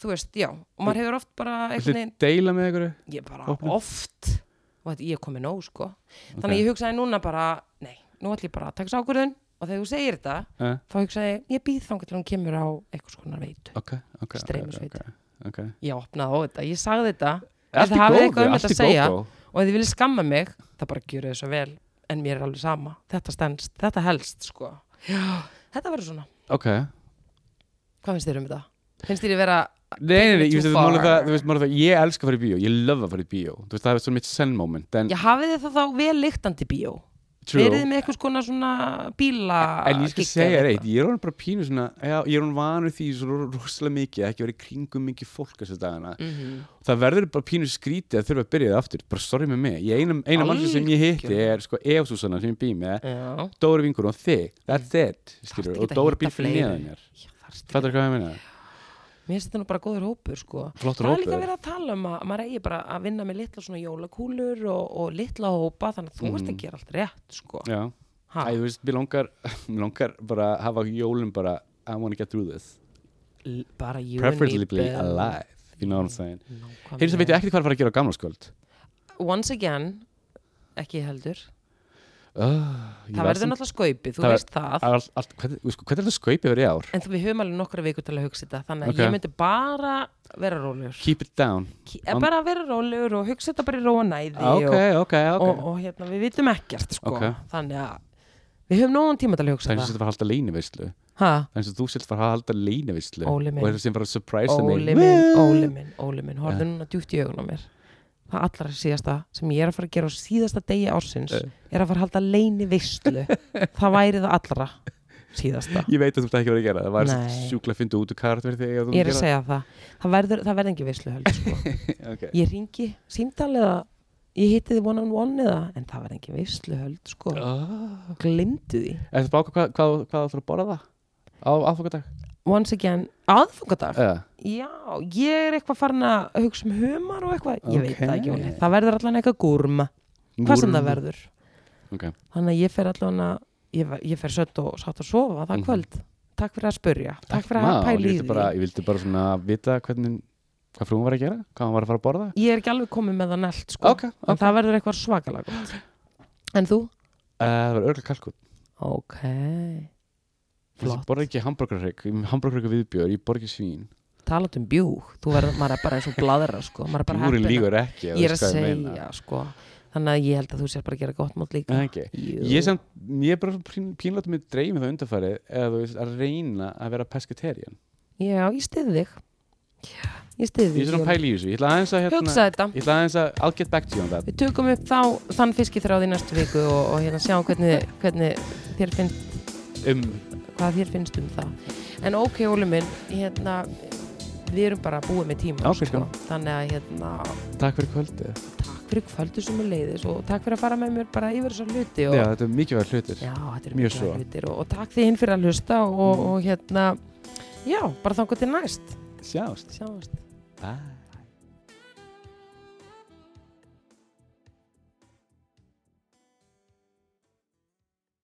S2: þú veist, já, og maður hefur oft bara
S1: Viltu
S2: einhvern veginn,
S1: deila með ykkur?
S2: ég er bara
S1: opna?
S2: oft og þetta, ég er komið nóg, sko þannig að ég hugsaði núna bara, nei, nú ætlum ég bara að taka sákurðun og þegar þú segir þetta
S1: Uh,
S2: þá hugsaði, ég, ég býð þangar til hún kemur á eitthvað skona veitu,
S1: ok, ok, ok,
S2: Streymisveitu.
S1: ok, ok.
S2: ég opnaði á þetta ég sagði þetta,
S1: Allt
S2: þið
S1: í
S2: hafið
S1: góðu,
S2: eitthvað um
S1: allt
S2: þetta
S1: í
S2: að segja,
S1: góðu.
S2: og ef þið viljið skamma mig það bara gjöru þið svo vel en mér er alveg sama, þetta stendst, þetta helst sko. já, þetta verður svona
S1: Ok,
S2: hvað finnst þér um þetta? finnst þér ég vera
S1: nei, nei, nei,
S2: Too
S1: ég veist að
S2: far.
S1: það, þú veist, málið það, ég elska að fara í bíó, ég löf að fara í bíó, þú veist, það er svona mitt send moment, en
S2: já, hafið þið það þá vel lyktandi bíó
S1: true,
S2: verið þið með eitthvað skona svona bíla
S1: en ég skal
S2: gigg
S1: segja
S2: eða
S1: þér eitt,
S2: eitthvað?
S1: ég er honum bara pínu svona, já, ég er honum vanur því svo rosalega mikið, að ekki verið kringum mikið fólk þessu dagana,
S2: Mhm.
S1: það verður bara pínu skrítið að þurfa að byrja það aftur, bara sorry með mig, ég eina, eina mannsu sem ég hitti
S2: Algjörlega.
S1: er, sko, Eva Susanna sem ég býð með,
S2: já,
S1: Dóri vingur og þig, that's it, skilur,
S2: Þarftu
S1: og
S2: ekki að
S1: Dóri
S2: hitta
S1: býr fyrir
S2: fleiri.
S1: neðan mér,
S2: já þarst
S1: fattar hvað ég meina?
S2: mér finnst þetta nú bara góður hópur sko.
S1: Flottur
S2: það er líka
S1: hópur.
S2: verið að tala um að maður eigi bara að vinna með litla svona jólakúlur og, og litla hópa þannig að þú
S1: Mhm.
S2: veist að gera allt rétt sko.
S1: Já,
S2: Ha.
S1: Æ, þú veist, mér langar, mér langar bara að hafa jólum bara I want to get through this
S2: L- bara you and me,
S1: Preferably
S2: babe.
S1: alive, you know what I'm saying
S2: Nákvæmlega.
S1: Heyrðu, það veit ég ekkert hvað að fara að gera á gamlarskvöld
S2: Once again, ekki heldur
S1: oh,
S2: Það verður náttúrulega skaupið, þú
S1: Það ver-
S2: veist það
S1: all, all, Hvernig hvernig er þetta skaupið verið í ár?
S2: En þú, við höfum alveg nokkra vikur til að hugsa þetta Þannig að
S1: Ok.
S2: ég myndi bara vera rólegur
S1: Keep it down
S2: Ki- eh, Bara vera rólegur og hugsa þetta bara í róa næði
S1: Ah, Ok,
S2: og,
S1: ok, ok
S2: og, og hérna, við vitum ekkert sko.
S1: Ok.
S2: Þannig að við höfum nógan tíma til að
S1: Það
S2: hugsa
S1: er eins og
S2: þetta
S1: þetta var að halda leynivislu
S2: Ha?
S1: Það er eins og þú sért var að halda leynivislu
S2: Óli minn.
S1: Og þetta sem var að surprise mig
S2: Óli minn, óli minn, óli minn Horfðu núna djúpt í augun á mér Það allra síðasta sem ég er að fara að gera á síðasta degi ársins
S1: Eh.
S2: er að fara að halda leini visslu Það væri það allra síðasta
S1: Ég veit að þú ert ekki verið að gera það Það var
S2: Nei.
S1: sjúkla að finna út úr karat verið þegar
S2: Ég er að segja það Það verður, það verður engin visslu heldur sko.
S1: okay.
S2: Ég ringi símtal eða ég hitti þið one on one eða en það var engin veislu höld sko
S1: oh.
S2: glimtu því,
S1: Ertu báka hvað, hvað, hvað þú ætlar að borða það? Á aðfokadag?
S2: once again aðfungadag,
S1: Uh,
S2: já ég er eitthvað farin að hugsa um humar og eitthvað ég veit það ekki,
S1: Ókei.
S2: Óli. það verður allan eitthvað gúrma hvað sem það verður
S1: Ok.
S2: þannig að ég fer allan að ég, ver- ég fer sött og satt að sofa það
S1: Mhm.
S2: kvöld takk fyrir að spurja, takk, fyrir að
S1: Má,
S2: pæla í
S1: ég vildi
S2: því
S1: bara, ég vildi bara svona vita hvernig, hvað frúin var að gera, hvað hann var að fara að borða
S2: ég er ekki alveg komið með það nælt sko
S1: Ok, Eh,
S2: en
S1: ok.
S2: það verður eitthvað svakalega gott en þú?
S1: Eh, Það var örgulega kalkun
S2: ok
S1: Ég
S2: Flott.
S1: borða ekki hambúrgarrygg, hambúrgarrygg viðbjör, ég borða ekki svín
S2: talat um bjúg, þú verður, maður er bara eins og bladra sko, maður er bara
S1: Bjúri
S2: heppinn að-
S1: lígur ekki, ef þú
S2: ég er að
S1: veist hvað meina.
S2: segja sko þannig að ég held að þú sér bara að gera gott mót líka
S1: Nei, ekki. Ég sem, ég er bara svona pín, pínlátt með dreymið á undarfærið eða þú veist að reyna að vera pescatarian
S2: já, ég stiði þig Já, ég stiði
S1: Ég
S2: þig
S1: er svona pæli í þessu, ég ætla aðeins að hérna,
S2: hugsa þetta
S1: Ég ætla aðeins að, I'll get back to you on that
S2: við tökum upp þá þann fiskiþráð í næstu viku og, og hérna sjáum hvernig, hvernig þér finnst,
S1: um,
S2: hvað þér finnst um það en ok, Óli minn hérna, við erum bara búið með tíma
S1: Ok,
S2: sko. þannig að hérna,
S1: Takk fyrir kvöldið
S2: takk fyrir kvöldu sem er leiðis og takk fyrir að fara með mér bara yfir þessar hluti og,
S1: Já, þetta er mikilvæg hlutir
S2: já, þetta er
S1: Mjög
S2: mjög
S1: svo.
S2: hlutir og, og takk þið hinn fyrir að hlusta og,
S1: Mm.
S2: og hérna já, bara þangur til næst
S1: Sjást
S2: sjáumst
S1: Bye